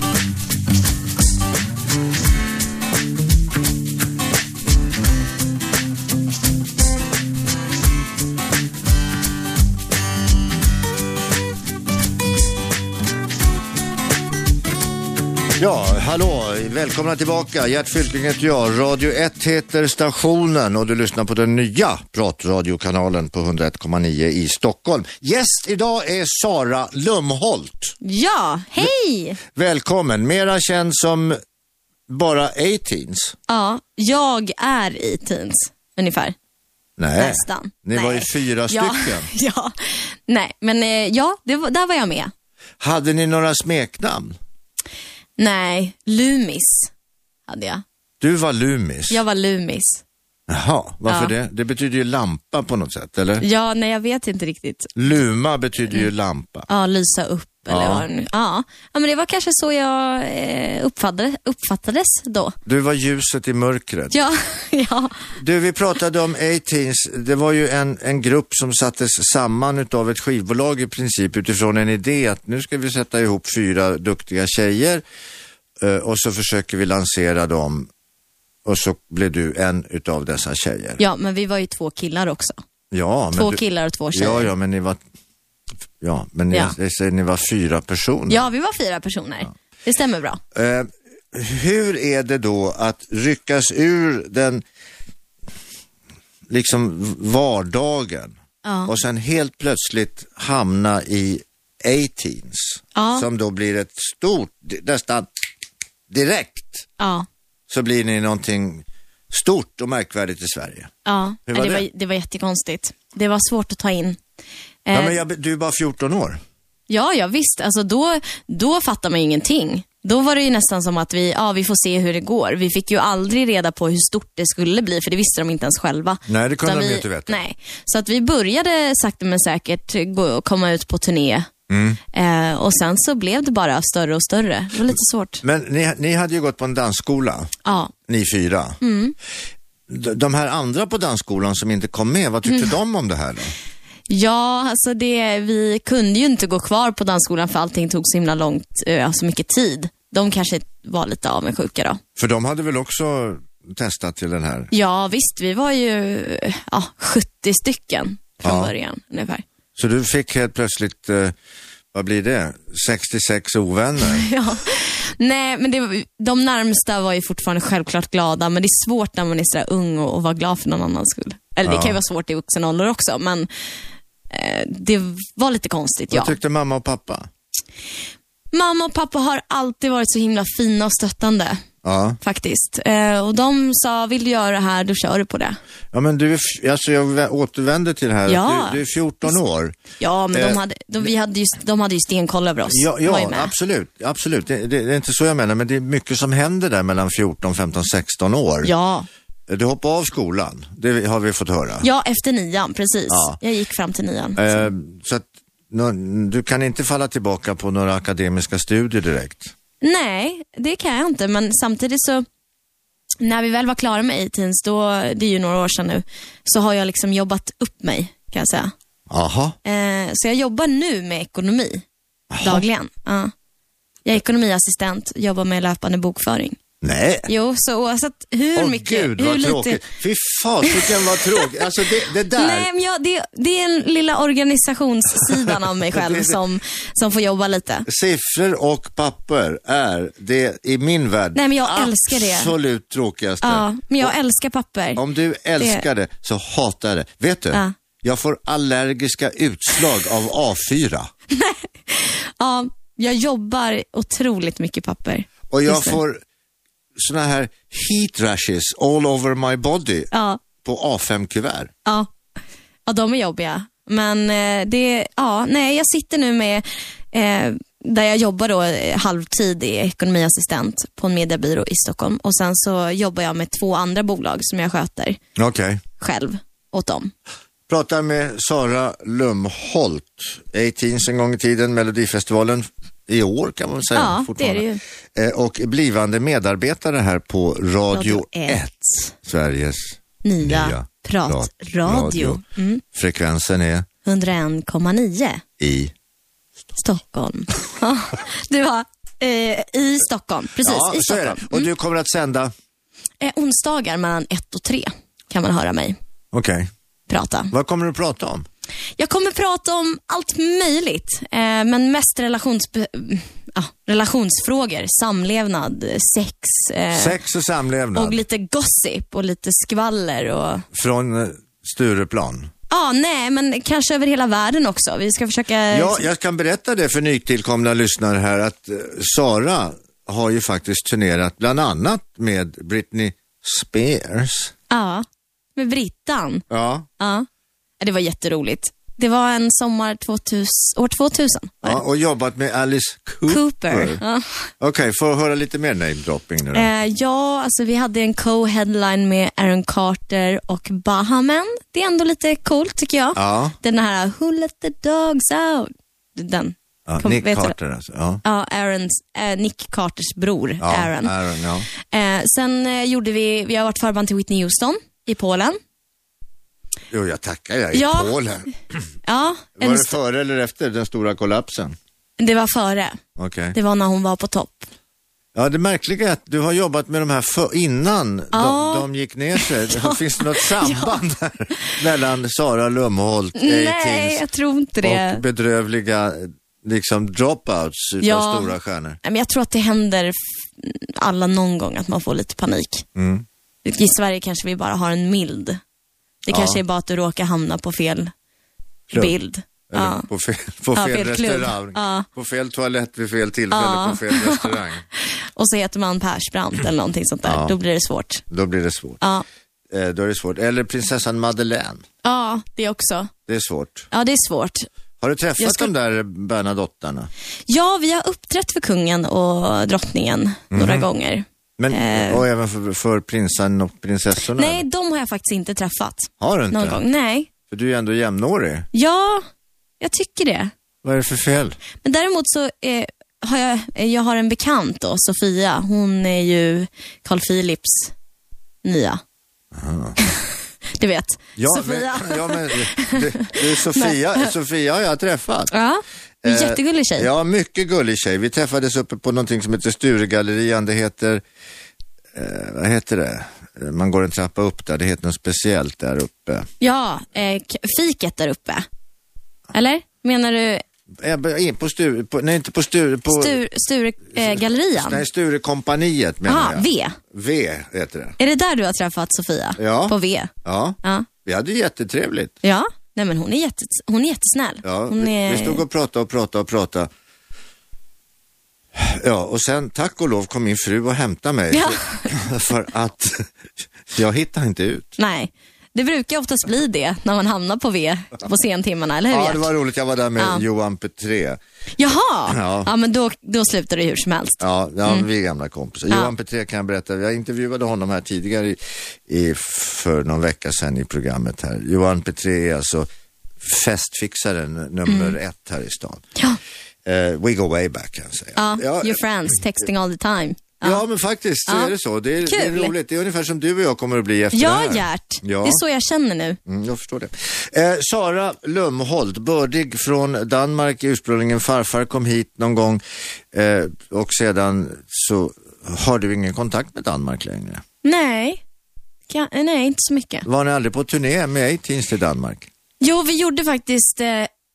[SPEAKER 2] Ja, hallå, välkomna tillbaka. Gert Fylking heter jag. Radio 1 heter stationen och du lyssnar på den nya pratradiokanalen på 101,9 i Stockholm. Gäst idag är Sara Lumholt.
[SPEAKER 3] Ja, hej!
[SPEAKER 2] Välkommen, mera känd som bara A-teens.
[SPEAKER 3] Ja, jag är i teens, ungefär.
[SPEAKER 2] Nej,
[SPEAKER 3] Nästan.
[SPEAKER 2] ni var ju
[SPEAKER 3] Nej.
[SPEAKER 2] fyra
[SPEAKER 3] Ja,
[SPEAKER 2] stycken.
[SPEAKER 3] ja. Nej, men eh, ja, det var, där var jag med.
[SPEAKER 2] Hade ni några smeknamn?
[SPEAKER 3] Nej, Lumis hade jag.
[SPEAKER 2] Du var Lumis.
[SPEAKER 3] Jag var Lumis.
[SPEAKER 2] Jaha, varför
[SPEAKER 3] Ja.
[SPEAKER 2] det? Det betyder ju lampa på något sätt, eller?
[SPEAKER 3] Ja, nej jag vet inte riktigt.
[SPEAKER 2] Luma betyder
[SPEAKER 3] Mm.
[SPEAKER 2] ju lampa.
[SPEAKER 3] Ja, lysa upp eller
[SPEAKER 2] Ja.
[SPEAKER 3] vad det nu ja. ja, men det var kanske så jag eh, uppfattade, uppfattades då.
[SPEAKER 2] Du var ljuset i mörkret.
[SPEAKER 3] Ja, ja.
[SPEAKER 2] Du, vi pratade om A-Teens. Det var ju en, en grupp som sattes samman av ett skivbolag i princip utifrån en idé att nu ska vi sätta ihop fyra duktiga tjejer eh, och så försöker vi lansera dem och så blev du en utav dessa tjejer.
[SPEAKER 3] ja, men vi var ju två killar också.
[SPEAKER 2] Ja,
[SPEAKER 3] Två
[SPEAKER 2] du,
[SPEAKER 3] killar och två tjejer.
[SPEAKER 2] Ja, ja, men ni var, ja, men ni,
[SPEAKER 3] Ja.
[SPEAKER 2] jag säger, ni var fyra personer.
[SPEAKER 3] Ja, vi var fyra personer. Det stämmer bra.
[SPEAKER 2] Eh, hur är det då att ryckas ur den liksom vardagen
[SPEAKER 3] Ja.
[SPEAKER 2] och sen helt plötsligt hamna i 18s
[SPEAKER 3] Ja.
[SPEAKER 2] som då blir ett stort, nästan direkt
[SPEAKER 3] Ja,
[SPEAKER 2] så blir ni någonting stort och märkvärdigt i Sverige.
[SPEAKER 3] ja.
[SPEAKER 2] Hur var
[SPEAKER 3] det,
[SPEAKER 2] det?
[SPEAKER 3] Var, det var jättekonstigt. Det var svårt att ta in. Eh,
[SPEAKER 2] Ja, men jag, du är bara 14 år.
[SPEAKER 3] Ja, ja visst. Alltså, då, då fattar man ju ingenting. Då var det ju nästan som att vi, ja, vi får se hur det går. Vi fick ju aldrig reda på hur stort det skulle bli, för det visste de inte ens själva.
[SPEAKER 2] Nej, det kunde
[SPEAKER 3] Utan
[SPEAKER 2] de ju
[SPEAKER 3] vi,
[SPEAKER 2] inte veta.
[SPEAKER 3] Nej. Så att vi började sakta men säkert gå, och komma ut på turné.
[SPEAKER 2] Mm.
[SPEAKER 3] Eh, och sen så blev det bara större och större. Det var lite svårt.
[SPEAKER 2] Men ni, ni hade ju gått på en dansskola,
[SPEAKER 3] Ja.
[SPEAKER 2] ni fyra.
[SPEAKER 3] Mm.
[SPEAKER 2] D- De här andra på dansskolan som inte kom med, vad
[SPEAKER 3] Mm.
[SPEAKER 2] tyckte de om det här då?
[SPEAKER 3] Ja, alltså det, vi kunde ju inte gå kvar på dansskolan för allting tog så himla långt, eh, så mycket tid. De kanske var lite avundsjuka då.
[SPEAKER 2] För de hade väl också testat till den här.
[SPEAKER 3] Ja, visst, vi var ju eh, ja, 70 stycken från
[SPEAKER 2] Ja.
[SPEAKER 3] början ungefär.
[SPEAKER 2] Så du fick helt plötsligt, eh, vad blir det, 66 ovänner.
[SPEAKER 3] Ja. Nej, men det, var- de närmsta var ju fortfarande självklart glada, men det är svårt när man är sådär ung och, och vara glad för någon annans skull. Eller det kan ju vara svårt i vuxen ålder också, men eh, det var lite konstigt. Ja.
[SPEAKER 2] Vad tyckte mamma och pappa?
[SPEAKER 3] Mamma och pappa har alltid varit så himla fina och stöttande.
[SPEAKER 2] Ja,
[SPEAKER 3] faktiskt. Eh, och de sa, vill du göra det här, då kör du på det.
[SPEAKER 2] ja men du är, f- alltså jag vä- återvänder till det här,
[SPEAKER 3] Ja.
[SPEAKER 2] du, du är 14 år.
[SPEAKER 3] Ja, men
[SPEAKER 2] Eh,
[SPEAKER 3] de, hade, de, vi hade ju, de hade ju stenkoll över oss.
[SPEAKER 2] Ja,
[SPEAKER 3] De var ju
[SPEAKER 2] ja
[SPEAKER 3] med.
[SPEAKER 2] absolut, absolut. Det, det, det är inte så jag menar, men det är mycket som händer där mellan 14, 15, 16 år.
[SPEAKER 3] ja.
[SPEAKER 2] Du hoppade av skolan, det har vi fått höra.
[SPEAKER 3] ja, efter nian, precis.
[SPEAKER 2] Ja.
[SPEAKER 3] Jag gick fram till nian.
[SPEAKER 2] Eh, så att, nå- du kan inte falla tillbaka på några akademiska studier direkt.
[SPEAKER 3] Nej, det kan jag inte, men samtidigt så när vi väl var klara med A-Teens, då, det är ju några år sedan nu, så har jag liksom jobbat upp mig, kan jag säga.
[SPEAKER 2] Aha.
[SPEAKER 3] Eh, så jag jobbar nu med ekonomi, dagligen. Ja. Jag är ekonomiassistent, jobbar med löpande bokföring.
[SPEAKER 2] Nej.
[SPEAKER 3] Jo, så oavsett hur
[SPEAKER 2] Åh
[SPEAKER 3] mycket,
[SPEAKER 2] gud
[SPEAKER 3] hur
[SPEAKER 2] vad
[SPEAKER 3] lite...
[SPEAKER 2] tråkigt. Fy fasiken vad tråkigt. Alltså det, det där.
[SPEAKER 3] Nej, men jag, det, det är en lilla organisationssidan av mig
[SPEAKER 2] Det-
[SPEAKER 3] själv
[SPEAKER 2] det-
[SPEAKER 3] som, som får jobba lite.
[SPEAKER 2] Siffror och papper är det i min värld
[SPEAKER 3] Nej, men jag älskar det.
[SPEAKER 2] absolut tråkigaste.
[SPEAKER 3] Ja, men jag älskar papper.
[SPEAKER 2] Om du älskar det så hatar jag det. Vet du?
[SPEAKER 3] Ja.
[SPEAKER 2] Jag får allergiska utslag av A4.
[SPEAKER 3] Ja, jag jobbar otroligt mycket papper.
[SPEAKER 2] Och jag
[SPEAKER 3] Just det.
[SPEAKER 2] får såna här heat rashes all over my body
[SPEAKER 3] Ja,
[SPEAKER 2] på A5-kuvert.
[SPEAKER 3] ja. ja, de är jobbiga. Men eh, det, ja, nej, jag sitter nu med, eh, där jag jobbar då eh, halvtid i ekonomiassistent på en mediebyrå i Stockholm. Och sen så jobbar jag med två andra bolag som jag sköter
[SPEAKER 2] Okej.
[SPEAKER 3] själv åt dem.
[SPEAKER 2] Pratar med Sara Lumholt, 18 en gång i tiden, Melodifestivalen i år kan man väl säga.
[SPEAKER 3] Ja,
[SPEAKER 2] fortfarande.
[SPEAKER 3] det är
[SPEAKER 2] Eh, Och blivande medarbetare här på Radio, 1, Sveriges
[SPEAKER 3] nya,
[SPEAKER 2] nya
[SPEAKER 3] pratradio.
[SPEAKER 2] pratradio.
[SPEAKER 3] Mm.
[SPEAKER 2] Frekvensen är
[SPEAKER 3] 101,9
[SPEAKER 2] i...
[SPEAKER 3] Stockholm. Ja, du var eh, i Stockholm, precis. i
[SPEAKER 2] så är det.
[SPEAKER 3] Stockholm. Mm.
[SPEAKER 2] Och du kommer att sända,
[SPEAKER 3] Eh, onsdagar mellan 1 och 3 kan man höra mig
[SPEAKER 2] okej,
[SPEAKER 3] prata.
[SPEAKER 2] vad kommer du att prata om?
[SPEAKER 3] Jag kommer prata om allt möjligt, eh, men mest relations, ja, relationsfrågor, samlevnad, sex. eh,
[SPEAKER 2] Sex och samlevnad
[SPEAKER 3] och lite gossip och lite skvaller och...
[SPEAKER 2] från eh, Stureplan.
[SPEAKER 3] Ja, nej, men kanske över hela världen också. Vi ska försöka...
[SPEAKER 2] Ja, jag kan berätta det för nytillkomna lyssnare här att eh, Sara har ju faktiskt turnerat bland annat med Britney Spears.
[SPEAKER 3] Ja, med Brittan.
[SPEAKER 2] Ja,
[SPEAKER 3] Ja. Ja, Det var jätteroligt. Det var en sommar 2000, år 2000. var det.
[SPEAKER 2] ja och jobbat med Alice Cooper.
[SPEAKER 3] Cooper. Ja.
[SPEAKER 2] Okej, får jag höra lite mer namedropping nu då?
[SPEAKER 3] Eh, ja, alltså vi hade en co-headline med Aaron Carter och Bahamen. Det är ändå lite coolt tycker jag.
[SPEAKER 2] Ja,
[SPEAKER 3] Den här Who let the dogs out? Den.
[SPEAKER 2] ja
[SPEAKER 3] Kom-
[SPEAKER 2] Nick
[SPEAKER 3] vet du det?
[SPEAKER 2] Carter alltså. Ja.
[SPEAKER 3] Ja, Aarons, eh, Nick Carters bror,
[SPEAKER 2] Ja,
[SPEAKER 3] Aaron.
[SPEAKER 2] Aaron ja.
[SPEAKER 3] Eh, sen eh, gjorde vi, vi har varit förband till Whitney Houston i Polen.
[SPEAKER 2] Jo, jag tackar jag. I
[SPEAKER 3] Ja,
[SPEAKER 2] Polen.
[SPEAKER 3] Ja,
[SPEAKER 2] Var
[SPEAKER 3] en
[SPEAKER 2] det före eller efter den stora kollapsen?
[SPEAKER 3] st- det var före.
[SPEAKER 2] Okej.
[SPEAKER 3] Det var när hon var på topp.
[SPEAKER 2] Ja, det märkliga är att du har jobbat med de här för, innan
[SPEAKER 3] Ja.
[SPEAKER 2] de, de gick ner sig. Finns det något samband här mellan Sara Lumholt,
[SPEAKER 3] Nej,
[SPEAKER 2] A-Teens
[SPEAKER 3] jag tror inte det.
[SPEAKER 2] och bedrövliga liksom dropouts utav
[SPEAKER 3] Ja.
[SPEAKER 2] stora stjärnor?
[SPEAKER 3] Nej, men jag tror att det händer f- alla någon gång att man får lite panik.
[SPEAKER 2] Mm.
[SPEAKER 3] I Sverige kanske vi bara har en mild. Det
[SPEAKER 2] Ja.
[SPEAKER 3] kanske är bara att du råkar hamna på fel
[SPEAKER 2] Klubb.
[SPEAKER 3] bild.
[SPEAKER 2] Eller
[SPEAKER 3] Ja.
[SPEAKER 2] på fel, på
[SPEAKER 3] Ja,
[SPEAKER 2] fel,
[SPEAKER 3] fel klubb.
[SPEAKER 2] restaurang,
[SPEAKER 3] Ja.
[SPEAKER 2] på fel toalett vid fel tillfälle,
[SPEAKER 3] Ja.
[SPEAKER 2] på fel restaurang.
[SPEAKER 3] Och så heter man Persbrandt eller någonting sånt där.
[SPEAKER 2] Ja.
[SPEAKER 3] Då blir det svårt.
[SPEAKER 2] Då blir det svårt.
[SPEAKER 3] Ja,
[SPEAKER 2] Eh, då är det svårt. Eller prinsessan Madeleine.
[SPEAKER 3] ja det också.
[SPEAKER 2] Det är svårt.
[SPEAKER 3] Ja, det är svårt.
[SPEAKER 2] Har du träffat
[SPEAKER 3] Jag ska-
[SPEAKER 2] de där Bernadottarna?
[SPEAKER 3] Ja, vi har uppträtt för kungen och drottningen
[SPEAKER 2] Mhm.
[SPEAKER 3] några gånger.
[SPEAKER 2] Men, Och även för, för prinsen och prinsessorna?
[SPEAKER 3] Eh. Nej, de har jag faktiskt inte träffat
[SPEAKER 2] Har du inte?
[SPEAKER 3] någon gång. Nej.
[SPEAKER 2] För du är ändå jämnårig.
[SPEAKER 3] Ja, jag tycker det.
[SPEAKER 2] Vad är det för fel?
[SPEAKER 3] Men däremot så eh, har jag, eh, jag har en bekant då, Sofia. Hon är ju Carl Philips nya. du vet, Sofia.
[SPEAKER 2] Men, ja, men, du, du, Sofia, Sofia har jag träffat. Eh,
[SPEAKER 3] Ja, en jättegullig tjej.
[SPEAKER 2] Ja, mycket gullig tjej. Vi träffades uppe på någonting som heter Sturegallerian. Det heter, eh, vad heter det? Eh, Man går en trappa upp där. Det heter något speciellt där uppe.
[SPEAKER 3] Ja, eh, k- fiket där uppe. Eller? Menar du
[SPEAKER 2] Eh, In på Sture, på, nej inte på Sture, på
[SPEAKER 3] Stur, Sturegallerian?
[SPEAKER 2] nej, Sturekompaniet menar
[SPEAKER 3] Jaha,
[SPEAKER 2] jag.
[SPEAKER 3] eh, V.
[SPEAKER 2] v heter det.
[SPEAKER 3] Är det där du har träffat Sofia?
[SPEAKER 2] Ja.
[SPEAKER 3] På V?
[SPEAKER 2] Ja,
[SPEAKER 3] Ja.
[SPEAKER 2] vi hade jättetrevligt.
[SPEAKER 3] ja. Nej, men hon är, jätte, hon är jättesnäll.
[SPEAKER 2] Ja,
[SPEAKER 3] hon
[SPEAKER 2] vi,
[SPEAKER 3] är...
[SPEAKER 2] vi stod och pratade och pratade och pratade. Ja, och sen tack och lov kom min fru och hämtade mig.
[SPEAKER 3] Ja.
[SPEAKER 2] För att jag hittade inte ut.
[SPEAKER 3] Nej, det brukar oftast bli det när man hamnar på V på sentimmarna, eller hur
[SPEAKER 2] Ja,
[SPEAKER 3] Gert?
[SPEAKER 2] det var roligt. Jag var där med
[SPEAKER 3] Ja.
[SPEAKER 2] Johan Petré.
[SPEAKER 3] Jaha,
[SPEAKER 2] Ja.
[SPEAKER 3] ja. men då, då slutar det hur som helst.
[SPEAKER 2] Ja, ja
[SPEAKER 3] Mm.
[SPEAKER 2] vi är gamla kompisar. Johan Petré kan jag berätta, jag intervjuade honom här tidigare i, i, för någon vecka sedan i programmet här. Johan Petré är alltså festfixaren nummer
[SPEAKER 3] Mm.
[SPEAKER 2] ett här i stan.
[SPEAKER 3] Ja.
[SPEAKER 2] Eh, we go way back kan jag säga.
[SPEAKER 3] Ja,
[SPEAKER 2] Ja,
[SPEAKER 3] your friends, texting all the time.
[SPEAKER 2] Ja, men faktiskt så
[SPEAKER 3] Ja.
[SPEAKER 2] är det så. Det är, det är
[SPEAKER 3] Kul.
[SPEAKER 2] roligt. Det är ungefär som du och jag kommer att bli efter det
[SPEAKER 3] Ja,
[SPEAKER 2] här.
[SPEAKER 3] Gert.
[SPEAKER 2] Ja.
[SPEAKER 3] Det är så jag känner nu.
[SPEAKER 2] Mm, jag förstår det. Eh, Sara Lumholt, bördig från Danmark ursprungligen. Farfar kom hit någon gång eh, och sedan så har du ingen kontakt med Danmark längre.
[SPEAKER 3] Nej. Kan, nej, inte så mycket.
[SPEAKER 2] Var ni aldrig på turné med A-Teens till Danmark?
[SPEAKER 3] Jo, vi gjorde faktiskt eh,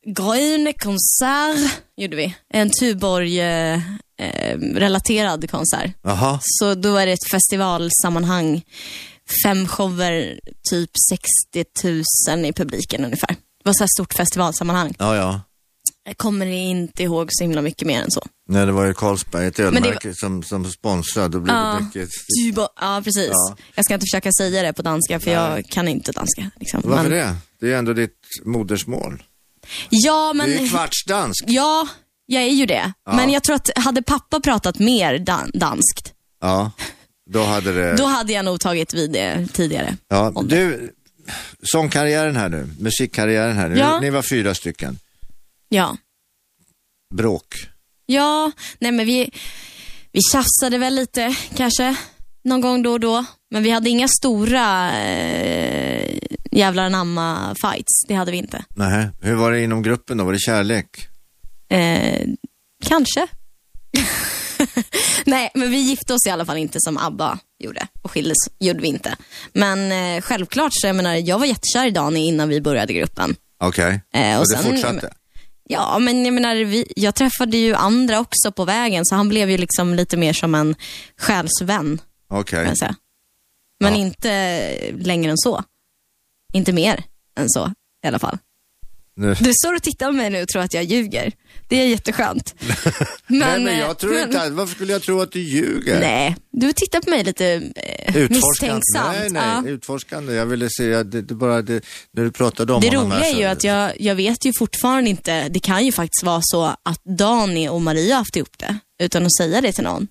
[SPEAKER 3] Gröne konsert, gjorde vi. En Tuborg-relaterad konsert.
[SPEAKER 2] Jaha,
[SPEAKER 3] Så då var det ett festivalsammanhang. Fem shower, typ 60 000 i publiken ungefär. Det var så här stort festivalsammanhang.
[SPEAKER 2] ja ja.
[SPEAKER 3] Jag kommer inte ihåg så himla mycket mer än så.
[SPEAKER 2] Nej, det var ju Carlsberg, ett
[SPEAKER 3] det
[SPEAKER 2] ölmärke som, som sponsrade. Då blev det mycket...
[SPEAKER 3] Tuborg. Ja, precis.
[SPEAKER 2] Ja.
[SPEAKER 3] Jag ska inte försöka säga det på danska för jag kan inte danska. Liksom.
[SPEAKER 2] Varför
[SPEAKER 3] Men-
[SPEAKER 2] det? Det är ju ändå ditt modersmål.
[SPEAKER 3] Ja, men...
[SPEAKER 2] Du är ju kvartsdansk.
[SPEAKER 3] Ja, jag är ju det. Men jag tror att hade pappa pratat mer dan- danskt,
[SPEAKER 2] Ja, då hade det...
[SPEAKER 3] då hade jag nog tagit vid det tidigare.
[SPEAKER 2] Ja,
[SPEAKER 3] Om
[SPEAKER 2] du, sångkarriären här nu, musikkarriären här nu.
[SPEAKER 3] Ja.
[SPEAKER 2] Ni var fyra stycken.
[SPEAKER 3] Ja.
[SPEAKER 2] Bråk.
[SPEAKER 3] Ja, nej men vi, vi tjafsade väl lite kanske någon gång då och då. Men vi hade inga stora eh, jävlar anamma fights. Det hade vi inte.
[SPEAKER 2] Nähä. Hur var det inom gruppen då? Var det kärlek?
[SPEAKER 3] Eh, kanske. nej, men vi gifte oss i alla fall inte som ABBA gjorde. Och skildes gjorde vi inte. Men eh, självklart, så jag menar, jag var jättekär i Dani innan vi började gruppen.
[SPEAKER 2] Okej,
[SPEAKER 3] Eh, och
[SPEAKER 2] och det
[SPEAKER 3] sen-
[SPEAKER 2] fortsatte?
[SPEAKER 3] Ja, men jag menar, vi, jag träffade ju andra också på vägen, så han blev ju liksom lite mer som en själsvän,
[SPEAKER 2] Okej.
[SPEAKER 3] kan jag säga. Men
[SPEAKER 2] Ja.
[SPEAKER 3] inte längre än så. Inte mer än så, i alla fall.
[SPEAKER 2] Nu-
[SPEAKER 3] Du står och tittar på mig nu och tror att jag ljuger. Det är jätteskönt. men,
[SPEAKER 2] Nej, men
[SPEAKER 3] eh,
[SPEAKER 2] jag tror
[SPEAKER 3] men-
[SPEAKER 2] inte att- Varför skulle jag tro att du ljuger?
[SPEAKER 3] Nej, du tittar på mig lite eh,
[SPEAKER 2] Utforskande.
[SPEAKER 3] misstänksamt.
[SPEAKER 2] Nej,
[SPEAKER 3] Ja.
[SPEAKER 2] nej, utforskande. Jag ville säga, det, det bara det, när du pratade om
[SPEAKER 3] Det
[SPEAKER 2] honom
[SPEAKER 3] roliga
[SPEAKER 2] här,
[SPEAKER 3] är
[SPEAKER 2] så-
[SPEAKER 3] ju att jag, jag vet ju fortfarande inte, det kan ju faktiskt vara så att Dani och Maria har haft ihop det utan att säga det till någon.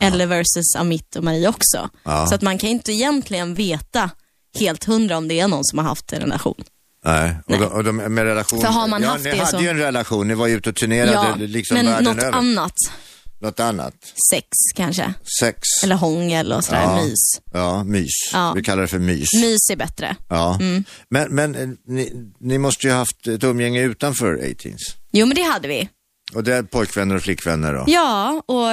[SPEAKER 3] Eller versus Amit och Maria också.
[SPEAKER 2] Ja.
[SPEAKER 3] Så att man kan ju inte egentligen veta helt hundra om det är någon som har haft en relation.
[SPEAKER 2] Nej, och, de, och de, med relation.
[SPEAKER 3] För har man
[SPEAKER 2] ja,
[SPEAKER 3] haft
[SPEAKER 2] ni
[SPEAKER 3] det
[SPEAKER 2] hade
[SPEAKER 3] så-
[SPEAKER 2] ju en relation, ni var ju ute och turnerade liksom
[SPEAKER 3] men
[SPEAKER 2] världen
[SPEAKER 3] något
[SPEAKER 2] över.
[SPEAKER 3] annat.
[SPEAKER 2] något annat.
[SPEAKER 3] Sex kanske.
[SPEAKER 2] Sex.
[SPEAKER 3] Eller hångel och sådär,
[SPEAKER 2] Ja.
[SPEAKER 3] mys.
[SPEAKER 2] Ja, mys.
[SPEAKER 3] Ja. Mm.
[SPEAKER 2] Vi kallar det för mys.
[SPEAKER 3] Mys är bättre.
[SPEAKER 2] Ja. Men, men eh, ni, ni måste ju haft ett umgänge utanför 18s.
[SPEAKER 3] Jo men det hade vi.
[SPEAKER 2] Och det är pojkvänner och flickvänner då?
[SPEAKER 3] Ja, och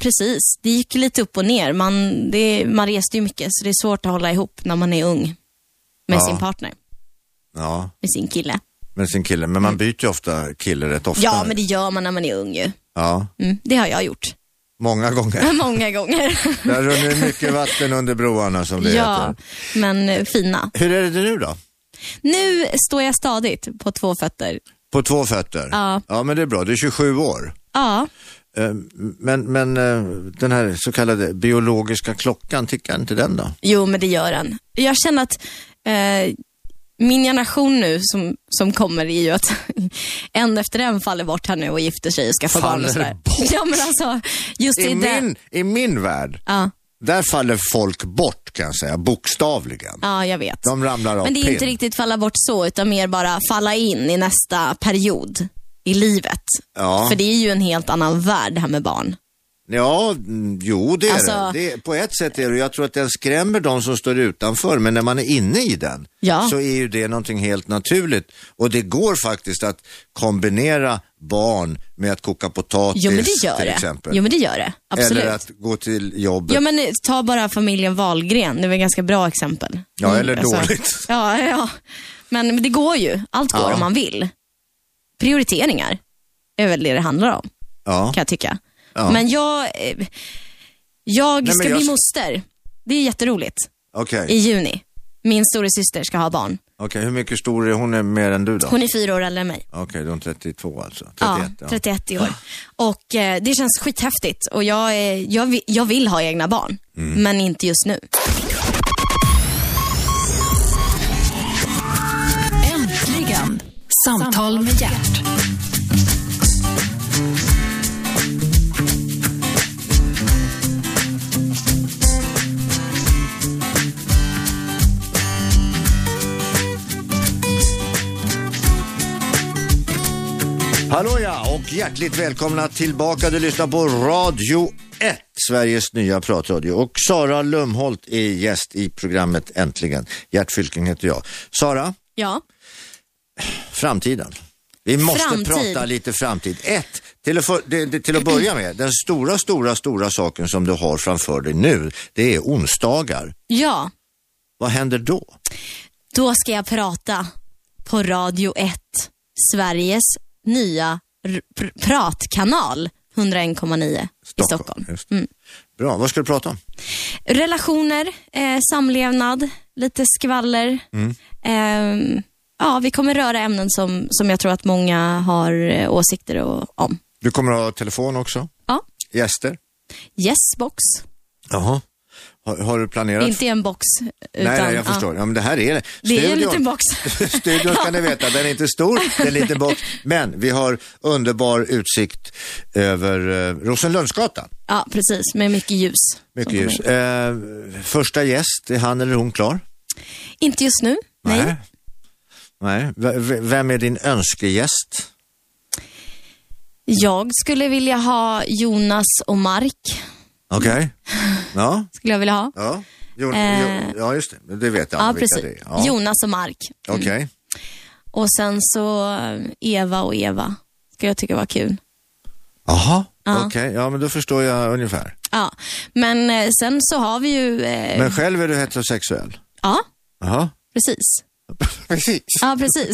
[SPEAKER 3] precis. Det gick lite upp och ner. Man, det, man reste ju mycket, så det är svårt att hålla ihop när man är ung med
[SPEAKER 2] Ja.
[SPEAKER 3] sin partner,
[SPEAKER 2] Ja,
[SPEAKER 3] med sin kille.
[SPEAKER 2] med sin kille. Men man byter ju ofta kille rätt ofta.
[SPEAKER 3] Mm. Ja, men det gör man när man är ung ju.
[SPEAKER 2] Ja,
[SPEAKER 3] Mm, det har jag gjort.
[SPEAKER 2] många gånger.
[SPEAKER 3] Många gånger.
[SPEAKER 2] Där rinner mycket vatten under broarna som det
[SPEAKER 3] ja,
[SPEAKER 2] heter.
[SPEAKER 3] men eh, fina.
[SPEAKER 2] Hur är det nu då?
[SPEAKER 3] Nu står jag stadigt på två fötter.
[SPEAKER 2] På två fötter?
[SPEAKER 3] Ja.
[SPEAKER 2] Ja, men det är bra. Du är 27 år.
[SPEAKER 3] Ja,
[SPEAKER 2] Eh, Men, men eh, den här så kallade biologiska klockan, tickar inte den då?
[SPEAKER 3] jo men det gör den. Jag känner att eh, min generation nu som, som kommer är ju att en efter en faller bort här nu och gifter sig och skaffar barn och
[SPEAKER 2] Faller
[SPEAKER 3] sådär. Ja men alltså, just
[SPEAKER 2] I
[SPEAKER 3] i den...
[SPEAKER 2] min, I min värld,
[SPEAKER 3] Ja,
[SPEAKER 2] där faller folk bort kan jag säga, bokstavligen.
[SPEAKER 3] ja, jag vet.
[SPEAKER 2] De ramlar av
[SPEAKER 3] Men det är inte
[SPEAKER 2] pinn.
[SPEAKER 3] riktigt falla bort så, utan mer bara falla in i nästa period i livet.
[SPEAKER 2] Ja.
[SPEAKER 3] För det är ju en helt annan värld det här med barn.
[SPEAKER 2] Ja, mm, jo det är
[SPEAKER 3] Alltså-
[SPEAKER 2] det. det. är- På ett sätt är det, jag tror att den skrämmer de som står utanför, men när man är inne i den
[SPEAKER 3] Ja.
[SPEAKER 2] så är ju det någonting helt naturligt. Och det går faktiskt att kombinera barn med att koka potatis
[SPEAKER 3] Jo men det gör
[SPEAKER 2] till
[SPEAKER 3] det.
[SPEAKER 2] exempel.
[SPEAKER 3] Jo men det gör det. Absolut.
[SPEAKER 2] Eller att gå till jobbet.
[SPEAKER 3] Ja men eh, ta bara familjen Wahlgren, det var ett ganska bra exempel.
[SPEAKER 2] Ja,
[SPEAKER 3] Mm,
[SPEAKER 2] eller dåligt.
[SPEAKER 3] Ja, ja. Men, men det går ju. Allt går
[SPEAKER 2] Ja.
[SPEAKER 3] om man vill. Prioriteringar är väl det det handlar om,
[SPEAKER 2] Ja.
[SPEAKER 3] kan jag tycka.
[SPEAKER 2] Ja.
[SPEAKER 3] Men jag, eh, jag
[SPEAKER 2] men
[SPEAKER 3] ska
[SPEAKER 2] jag
[SPEAKER 3] bli
[SPEAKER 2] ska-
[SPEAKER 3] moster. Det är jätteroligt.
[SPEAKER 2] Okej,
[SPEAKER 3] I juni. Min stora syster ska ha barn.
[SPEAKER 2] Okej, hur mycket stor är hon är mer än du då?
[SPEAKER 3] Hon är fyra år äldre än mig.
[SPEAKER 2] Okej, då är hon 32 alltså. 31,
[SPEAKER 3] ja, 31 i år.
[SPEAKER 2] Ah.
[SPEAKER 3] Och eh, det känns skithäftigt. Och jag, är, jag, vi- jag vill ha egna barn,
[SPEAKER 2] Mm.
[SPEAKER 3] men inte just nu.
[SPEAKER 1] Äntligen samtal med hjärt.
[SPEAKER 2] Hallå ja, och hjärtligt välkomna tillbaka. Du lyssnar på Radio 1, Sveriges nya pratradio. Och Sara Lumholt är gäst i programmet Äntligen. Gert Fylking heter jag. Sara,
[SPEAKER 3] Ja.
[SPEAKER 2] framtiden. Vi måste
[SPEAKER 3] Framtid.
[SPEAKER 2] prata lite framtid. Ett, till att, för, det, det, till att börja med, den stora, stora, stora saken som du har framför dig nu, det är onsdagar.
[SPEAKER 3] ja,
[SPEAKER 2] Vad händer då?
[SPEAKER 3] då ska jag prata på Radio 1, Sveriges nya r- pr- pratkanal, 101,9 i Stockholm. Mm.
[SPEAKER 2] Just det. Bra, vad ska du prata om?
[SPEAKER 3] Relationer, eh, samlevnad, lite skvaller.
[SPEAKER 2] Mm.
[SPEAKER 3] Ehm, ja, vi kommer röra ämnen som, som jag tror att många har eh, åsikter och, om.
[SPEAKER 2] Du kommer att ha telefon också,
[SPEAKER 3] Ja.
[SPEAKER 2] gäster.
[SPEAKER 3] Yes box.
[SPEAKER 2] Jaha. Har, har du planerat
[SPEAKER 3] Inte i en box. Utan,
[SPEAKER 2] nej, nej, jag förstår. Ja, men det här är det.
[SPEAKER 3] Det är en liten box.
[SPEAKER 2] Studion ska ni veta, den är inte stor, den är en liten box. Men vi har underbar utsikt över eh, Rosenlundsgatan.
[SPEAKER 3] Ja, ja, precis. Med mycket ljus.
[SPEAKER 2] Mycket
[SPEAKER 3] som kommer
[SPEAKER 2] ljus.
[SPEAKER 3] in.
[SPEAKER 2] Eh, första gäst, är han eller hon klar?
[SPEAKER 3] Inte just nu. Nej.
[SPEAKER 2] Nej. V- v- vem är din önskegäst?
[SPEAKER 3] Jag skulle vilja ha Jonas och Mark.
[SPEAKER 2] Okej. Ja,
[SPEAKER 3] Skulle jag vilja ha.
[SPEAKER 2] ja. Jo,
[SPEAKER 3] Mm. Eh.
[SPEAKER 2] jo, ja, just det. Det vet jag
[SPEAKER 3] Ja,
[SPEAKER 2] vilka det
[SPEAKER 3] precis.
[SPEAKER 2] är. Ja.
[SPEAKER 3] Jonas och Mark.
[SPEAKER 2] Okej.
[SPEAKER 3] Och sen så eh, Eva och Eva. Skulle jag tycka var kul.
[SPEAKER 2] Jaha,
[SPEAKER 3] Ja.
[SPEAKER 2] okej. Ja, men då förstår jag ungefär.
[SPEAKER 3] Ja, men eh, sen så har vi ju... Eh,
[SPEAKER 2] Men själv är du heterosexuell?
[SPEAKER 3] Ja,
[SPEAKER 2] Jaha.
[SPEAKER 3] precis.
[SPEAKER 2] Precis.
[SPEAKER 3] Ja, precis.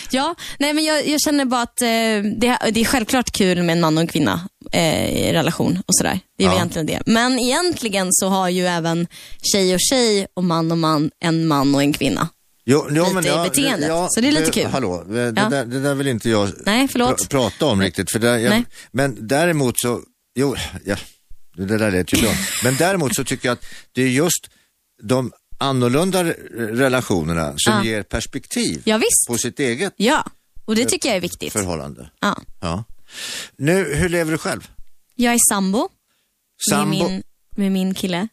[SPEAKER 3] ja, nej men jag, jag känner bara att eh, det, det är självklart kul med en man och en kvinna eh, i relation och sådär. Det är väl
[SPEAKER 2] Ja.
[SPEAKER 3] egentligen det. Men egentligen så har ju även tjej och tjej och man och man en man och en kvinna.
[SPEAKER 2] Jo, jo,
[SPEAKER 3] Lite i beteendet, så det är lite kul.
[SPEAKER 2] Hallå, eh, det,
[SPEAKER 3] Ja.
[SPEAKER 2] där, det där vill inte jag
[SPEAKER 3] Nej, förlåt.
[SPEAKER 2] pra- prata om riktigt. För där, jag,
[SPEAKER 3] Nej.
[SPEAKER 2] men däremot så, jo, ja, det där lät ju bra. Men däremot så tycker jag att det är just de annorlunda re- relationerna som
[SPEAKER 3] Ja.
[SPEAKER 2] ger perspektiv
[SPEAKER 3] Ja, visst.
[SPEAKER 2] på sitt eget
[SPEAKER 3] Ja, och det tycker jag är viktigt.
[SPEAKER 2] förhållande.
[SPEAKER 3] Ja.
[SPEAKER 2] Ja. Nu, hur lever du själv?
[SPEAKER 3] Jag är sambo,
[SPEAKER 2] Sambo?
[SPEAKER 3] Med, min, med min kille.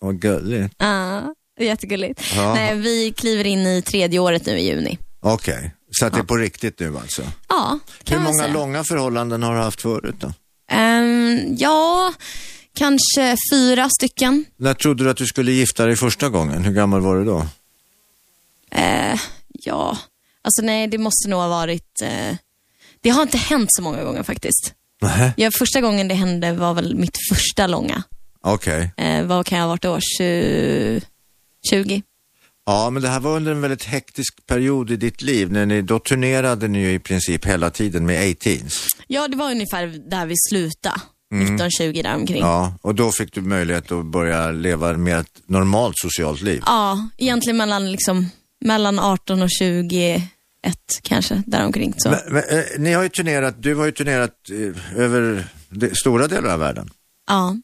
[SPEAKER 2] Vad gulligt.
[SPEAKER 3] Ja, det är jättegulligt.
[SPEAKER 2] Ja.
[SPEAKER 3] Nej, vi kliver in i tredje året nu i juni.
[SPEAKER 2] Okej, så att det är på riktigt nu alltså.
[SPEAKER 3] Ja, kan
[SPEAKER 2] Hur
[SPEAKER 3] man
[SPEAKER 2] många
[SPEAKER 3] säga.
[SPEAKER 2] långa förhållanden har du haft förut då?
[SPEAKER 3] Ehm, ja, kanske fyra stycken.
[SPEAKER 2] När trodde du att du skulle gifta dig första gången? Hur gammal var du då?
[SPEAKER 3] Eh, ja, alltså nej, det måste nog ha varit... Eh, det har inte hänt så många gånger faktiskt.
[SPEAKER 2] Nej.
[SPEAKER 3] Ja, första gången det hände var väl mitt första långa.
[SPEAKER 2] Okej.
[SPEAKER 3] Eh, vad kan jag ha varit då? 20? 20.
[SPEAKER 2] Ja, men det här var under en väldigt hektisk period i ditt liv. När ni, då turnerade ni ju i princip hela tiden med 18s.
[SPEAKER 3] Ja, det var ungefär där vi slutade. 1920 däromkring. Ja.
[SPEAKER 2] Mm. Ja, och då fick du möjlighet att börja leva mer ett normalt socialt liv.
[SPEAKER 3] ja, egentligen mellan, liksom, mellan 18 och 21 kanske, däromkring. Så.
[SPEAKER 2] Men, men, eh, ni har ju turnerat, du har ju turnerat eh, över de, stora delar av världen.
[SPEAKER 3] Ja,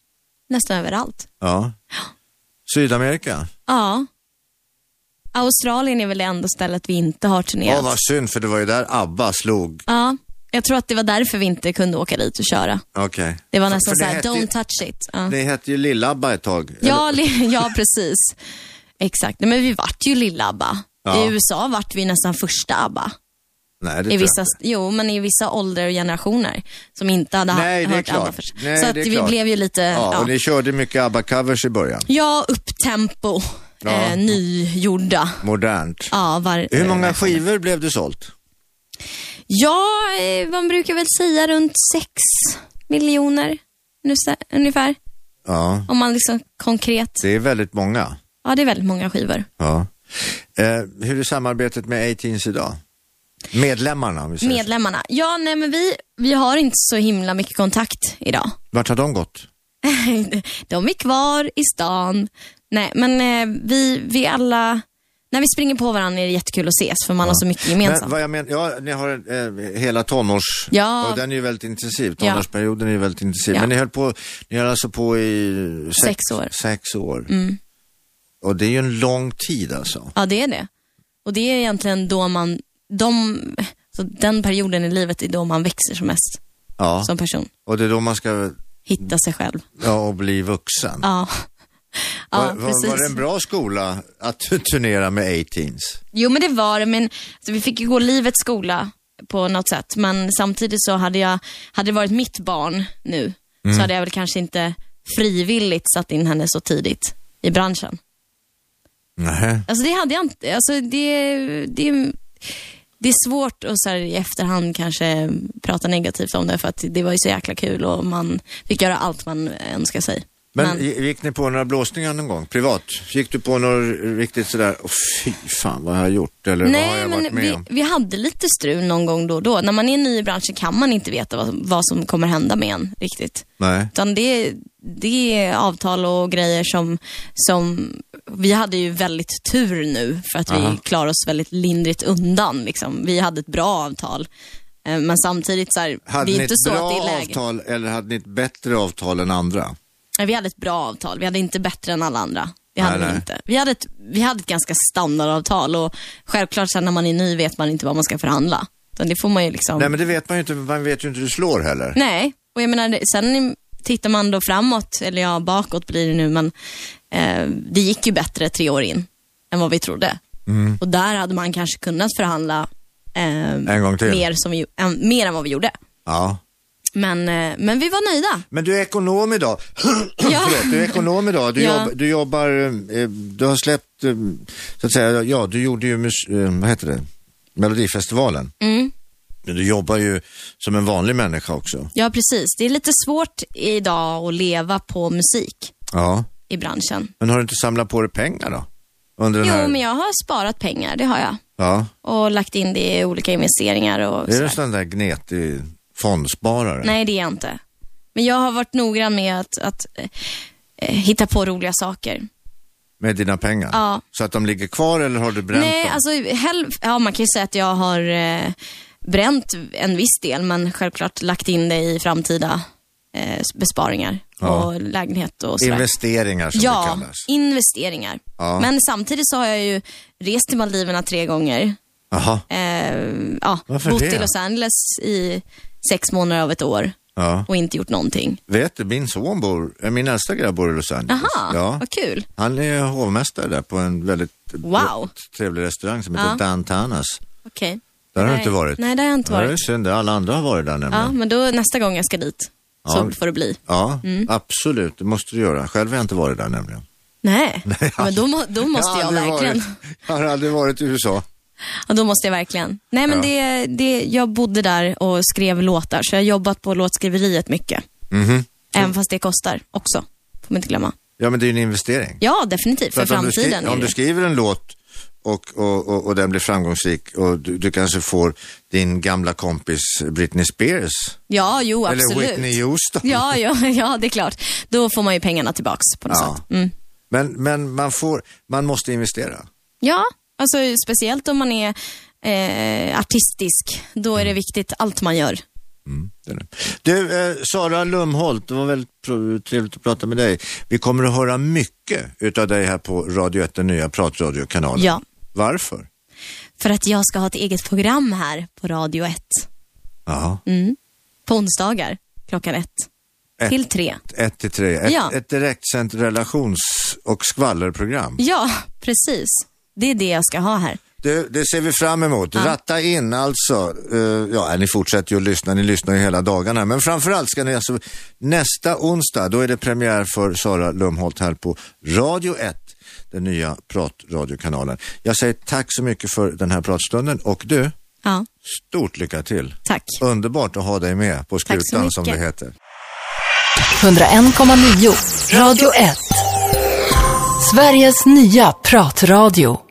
[SPEAKER 3] nästan överallt.
[SPEAKER 2] Ja. Sydamerika.
[SPEAKER 3] Ja. Australien är väl det enda stället vi inte har
[SPEAKER 2] Ja,
[SPEAKER 3] turnerat.
[SPEAKER 2] vad synd för det var ju där ABBA slog.
[SPEAKER 3] Ja, jag tror att det var därför vi inte kunde åka dit och köra.
[SPEAKER 2] Okej.
[SPEAKER 3] Det var
[SPEAKER 2] För-
[SPEAKER 3] nästan
[SPEAKER 2] för det
[SPEAKER 3] så här,
[SPEAKER 2] hette
[SPEAKER 3] don't
[SPEAKER 2] ju-
[SPEAKER 3] touch it. Ja,
[SPEAKER 2] Det hette ju Lill-ABBA ett tag.
[SPEAKER 3] ja, li- ja precis. Exakt. Nej, men vi vart ju lilla ABBA.
[SPEAKER 2] Ja.
[SPEAKER 3] I USA vart vi nästan första ABBA.
[SPEAKER 2] Eller- Nej, det
[SPEAKER 3] I
[SPEAKER 2] tror jag
[SPEAKER 3] vissa,
[SPEAKER 2] inte.
[SPEAKER 3] jo, men i vissa åldrar och generationer som inte hade ha-
[SPEAKER 2] Nej, det är
[SPEAKER 3] hört
[SPEAKER 2] klart.
[SPEAKER 3] ABBA först.
[SPEAKER 2] Nej,
[SPEAKER 3] så att
[SPEAKER 2] det är
[SPEAKER 3] vi
[SPEAKER 2] klart.
[SPEAKER 3] blev ju lite,
[SPEAKER 2] Ja,
[SPEAKER 3] eh, ja,
[SPEAKER 2] och ni körde mycket ABBA-covers i början.
[SPEAKER 3] ja upptempo,
[SPEAKER 2] Ja.
[SPEAKER 3] Eh, nygjorda.
[SPEAKER 2] Modernt.
[SPEAKER 3] Ja, var,
[SPEAKER 2] Hur många
[SPEAKER 3] eh,
[SPEAKER 2] skivor blev det sålt?
[SPEAKER 3] Ja, eh, man brukar väl säga runt 6 miljoner nu se- ungefär.
[SPEAKER 2] Ja,
[SPEAKER 3] Om man liksom konkret.
[SPEAKER 2] det är väldigt många.
[SPEAKER 3] Ja, det är väldigt många skivor.
[SPEAKER 2] Ja. Eh, hur är samarbetet med A-Teens idag? Medlemmarna, om vi säger. så.
[SPEAKER 3] Medlemmarna. Ja, nej men vi, vi har inte så himla mycket kontakt idag.
[SPEAKER 2] Vart har de gått?
[SPEAKER 3] De är kvar i stan. Nej, men eh, vi, vi alla, när vi springer på varandra är det jättekul att ses för man har så mycket gemensamt.
[SPEAKER 2] Men, vad jag men, ja, ni har eh, hela tonårs...
[SPEAKER 3] Ja.
[SPEAKER 2] Och den är ju väldigt intensiv.
[SPEAKER 3] Ja.
[SPEAKER 2] Tonårsperioden är ju väldigt intensiv.
[SPEAKER 3] Ja.
[SPEAKER 2] Men ni höll på, ni höll alltså på i sex,
[SPEAKER 3] Sex år. Mm.
[SPEAKER 2] Sex år. Och det är ju en lång tid alltså.
[SPEAKER 3] Ja, det är det. Och det är egentligen då man, de, så den perioden i livet är då man växer som mest
[SPEAKER 2] Ja.
[SPEAKER 3] som person.
[SPEAKER 2] Och det är då man ska,
[SPEAKER 3] Hitta sig själv.
[SPEAKER 2] ja, och bli vuxen.
[SPEAKER 3] Ja, ja
[SPEAKER 2] var, var,
[SPEAKER 3] precis.
[SPEAKER 2] var det en bra skola att turnera med A-Teens?
[SPEAKER 3] Jo, men det var det. Men alltså, vi fick ju gå livets skola på något sätt. Men samtidigt så hade jag, hade det varit mitt barn nu, så hade jag väl kanske inte frivilligt satt in henne så tidigt i branschen.
[SPEAKER 2] Nej.
[SPEAKER 3] Alltså det hade jag inte. Alltså det, det, det är svårt att så här, i efterhand kanske prata negativt om det för att det var ju så jäkla kul och man fick göra allt man önskar sig.
[SPEAKER 2] Men,
[SPEAKER 3] Men-
[SPEAKER 2] gi- gick ni på några blåsningar någon gång, privat? Gick du på något riktigt sådär, oh, fy fan vad har jag gjort eller vad har jag varit med
[SPEAKER 3] vi,
[SPEAKER 2] om?
[SPEAKER 3] vi hade lite strul någon gång då och då. När man är ny i branschen kan man inte veta vad, vad som kommer hända med en riktigt.
[SPEAKER 2] Nej.
[SPEAKER 3] Utan det, det är avtal och grejer som, som... Vi hade ju väldigt tur nu för att
[SPEAKER 2] Aha.
[SPEAKER 3] vi klarade oss väldigt lindrigt undan. Liksom. Vi hade ett bra avtal. Eh, Men samtidigt så här,
[SPEAKER 2] Hade
[SPEAKER 3] det
[SPEAKER 2] ni
[SPEAKER 3] är
[SPEAKER 2] ett
[SPEAKER 3] inte så
[SPEAKER 2] bra
[SPEAKER 3] att det är läge.
[SPEAKER 2] avtal eller hade ni ett bättre avtal än andra?
[SPEAKER 3] Nej, Vi hade ett bra avtal. Vi hade inte bättre än alla andra. Det
[SPEAKER 2] Nej,
[SPEAKER 3] hade
[SPEAKER 2] nej.
[SPEAKER 3] vi inte. Vi hade, ett, vi hade ett ganska standardavtal och självklart sen när man är ny vet man inte vad man ska förhandla. Utan det får man ju liksom...
[SPEAKER 2] Nej men det vet man ju inte, man vet ju inte hur du slår heller.
[SPEAKER 3] Nej, och jag menar, det- sen tittar man då framåt, eller ja, bakåt blir det nu, men eh, det gick ju bättre tre år in än vad vi trodde.
[SPEAKER 2] Mm.
[SPEAKER 3] Och där hade man kanske kunnat förhandla eh,
[SPEAKER 2] En gång till.
[SPEAKER 3] Mer, som vi, än- mer än vad vi gjorde.
[SPEAKER 2] Ja.
[SPEAKER 3] Men, eh, men vi var nöjda.
[SPEAKER 2] Men du är ekonom idag. Förlåt, du är ekonom idag. Du,
[SPEAKER 3] Ja.
[SPEAKER 2] jobb, du jobbar, eh, du har släppt, eh, så att säga, ja du gjorde ju, mus, eh, vad heter det, Melodifestivalen.
[SPEAKER 3] Mm.
[SPEAKER 2] Men du jobbar ju som en vanlig människa också.
[SPEAKER 3] Ja, precis. Det är lite svårt idag att leva på musik
[SPEAKER 2] Ja.
[SPEAKER 3] i branschen.
[SPEAKER 2] Men har du inte samlat på dig pengar då? Under den
[SPEAKER 3] Jo,
[SPEAKER 2] här...
[SPEAKER 3] men jag har sparat pengar, det har jag.
[SPEAKER 2] Ja.
[SPEAKER 3] Och lagt in det i olika investeringar och
[SPEAKER 2] Är du
[SPEAKER 3] sådär.
[SPEAKER 2] en sån där gnetig fondsparare?
[SPEAKER 3] Nej, det är jag inte. Men jag har varit noggrann med att, att eh, eh, hitta på roliga saker.
[SPEAKER 2] Med dina pengar?
[SPEAKER 3] Ja.
[SPEAKER 2] Så att de ligger kvar eller har du bränt
[SPEAKER 3] Nej,
[SPEAKER 2] dem?
[SPEAKER 3] alltså hel- ja, man kan ju säga att jag har eh, bränt en viss del, men självklart lagt in det i framtida eh, besparingar
[SPEAKER 2] Ja.
[SPEAKER 3] och lägenhet och sådär.
[SPEAKER 2] Investeringar som det
[SPEAKER 3] ja,
[SPEAKER 2] kallas.
[SPEAKER 3] investeringar.
[SPEAKER 2] Ja.
[SPEAKER 3] Men samtidigt så har jag ju rest till Maldiverna tre gånger.
[SPEAKER 2] Jaha.
[SPEAKER 3] Eh, ja,
[SPEAKER 2] Varför
[SPEAKER 3] bott
[SPEAKER 2] det?
[SPEAKER 3] i Los Angeles i sex månader av ett år
[SPEAKER 2] Ja.
[SPEAKER 3] och inte gjort någonting.
[SPEAKER 2] Vet du, min son bor, äh, min äldsta grabb bor i Los Angeles.
[SPEAKER 3] Aha,
[SPEAKER 2] Ja.
[SPEAKER 3] vad kul.
[SPEAKER 2] Han är hovmästare där på en väldigt
[SPEAKER 3] Wow.
[SPEAKER 2] trevlig restaurang som heter
[SPEAKER 3] Ja.
[SPEAKER 2] Dantanas.
[SPEAKER 3] Okej.
[SPEAKER 2] Där har du
[SPEAKER 3] Nej.
[SPEAKER 2] inte varit?
[SPEAKER 3] Nej, där har jag inte
[SPEAKER 2] Ja, det
[SPEAKER 3] varit.
[SPEAKER 2] är synd. Alla andra har varit där
[SPEAKER 3] Ja,
[SPEAKER 2] nämligen.
[SPEAKER 3] men då nästa gång jag ska dit så
[SPEAKER 2] Ja.
[SPEAKER 3] får det bli.
[SPEAKER 2] Ja,
[SPEAKER 3] Mm.
[SPEAKER 2] absolut. Det måste du göra. Själv har jag inte varit där nämligen.
[SPEAKER 3] Nej, men då, må- då måste jag,
[SPEAKER 2] aldrig
[SPEAKER 3] verkligen.
[SPEAKER 2] Varit, jag har aldrig varit i USA.
[SPEAKER 3] Ja, då måste jag verkligen. Nej, men
[SPEAKER 2] Ja.
[SPEAKER 3] det, det, jag bodde där och skrev låtar, så jag har jobbat på låtskriveriet mycket.
[SPEAKER 2] Mhm.
[SPEAKER 3] Även fast det kostar också, får man inte glömma.
[SPEAKER 2] Ja, men det är ju en investering.
[SPEAKER 3] Ja, definitivt. För,
[SPEAKER 2] att om du skri-
[SPEAKER 3] framtiden. är
[SPEAKER 2] Om
[SPEAKER 3] det-
[SPEAKER 2] du skriver en låt och, och, och, och den blir framgångsrik och du, du kanske får din gamla kompis Britney Spears
[SPEAKER 3] ja, jo, absolut.
[SPEAKER 2] eller Whitney Houston.
[SPEAKER 3] Ja, ja, ja, det är klart. Då får man ju pengarna tillbaks på något
[SPEAKER 2] Ja.
[SPEAKER 3] sätt. Mm.
[SPEAKER 2] Men, men man, får, man måste investera.
[SPEAKER 3] Ja, alltså speciellt om man är eh, artistisk. Då är det
[SPEAKER 2] Mm.
[SPEAKER 3] viktigt, allt man gör.
[SPEAKER 2] Det är det. Du, eh, Sara Lumholt, det var väldigt pr- trevligt att prata med dig. Vi kommer att höra mycket utav dig här på Radio 1, den nya pratradiokanalen.
[SPEAKER 3] Ja.
[SPEAKER 2] Varför?
[SPEAKER 3] För att jag ska ha ett eget program här på Radio 1.
[SPEAKER 2] Ja,
[SPEAKER 3] Mm. På onsdagar klockan ett.
[SPEAKER 2] Ett.
[SPEAKER 3] Till tre.
[SPEAKER 2] 1 till 3. Ett,
[SPEAKER 3] Ja.
[SPEAKER 2] ett direktsänt relations och skvallerprogram.
[SPEAKER 3] Ja, precis. Det är det jag ska ha här.
[SPEAKER 2] Det, det ser vi fram emot. Ratta in alltså. Eh, ja, ni fortsätter ju att lyssna. Ni lyssnar ju hela dagarna. Men framförallt ska ni alltså nästa onsdag, då är det premiär för Sara Lumholt här på Radio 1, den nya pratradiokanalen. Jag säger tack så mycket för den här pratstunden och du,
[SPEAKER 3] Ja,
[SPEAKER 2] stort lycka till.
[SPEAKER 3] tack.
[SPEAKER 2] Underbart att ha dig med på
[SPEAKER 3] så
[SPEAKER 2] skutan som det
[SPEAKER 3] mycket.
[SPEAKER 2] heter.
[SPEAKER 1] 101,9. Radio 1. Sveriges nya pratradio.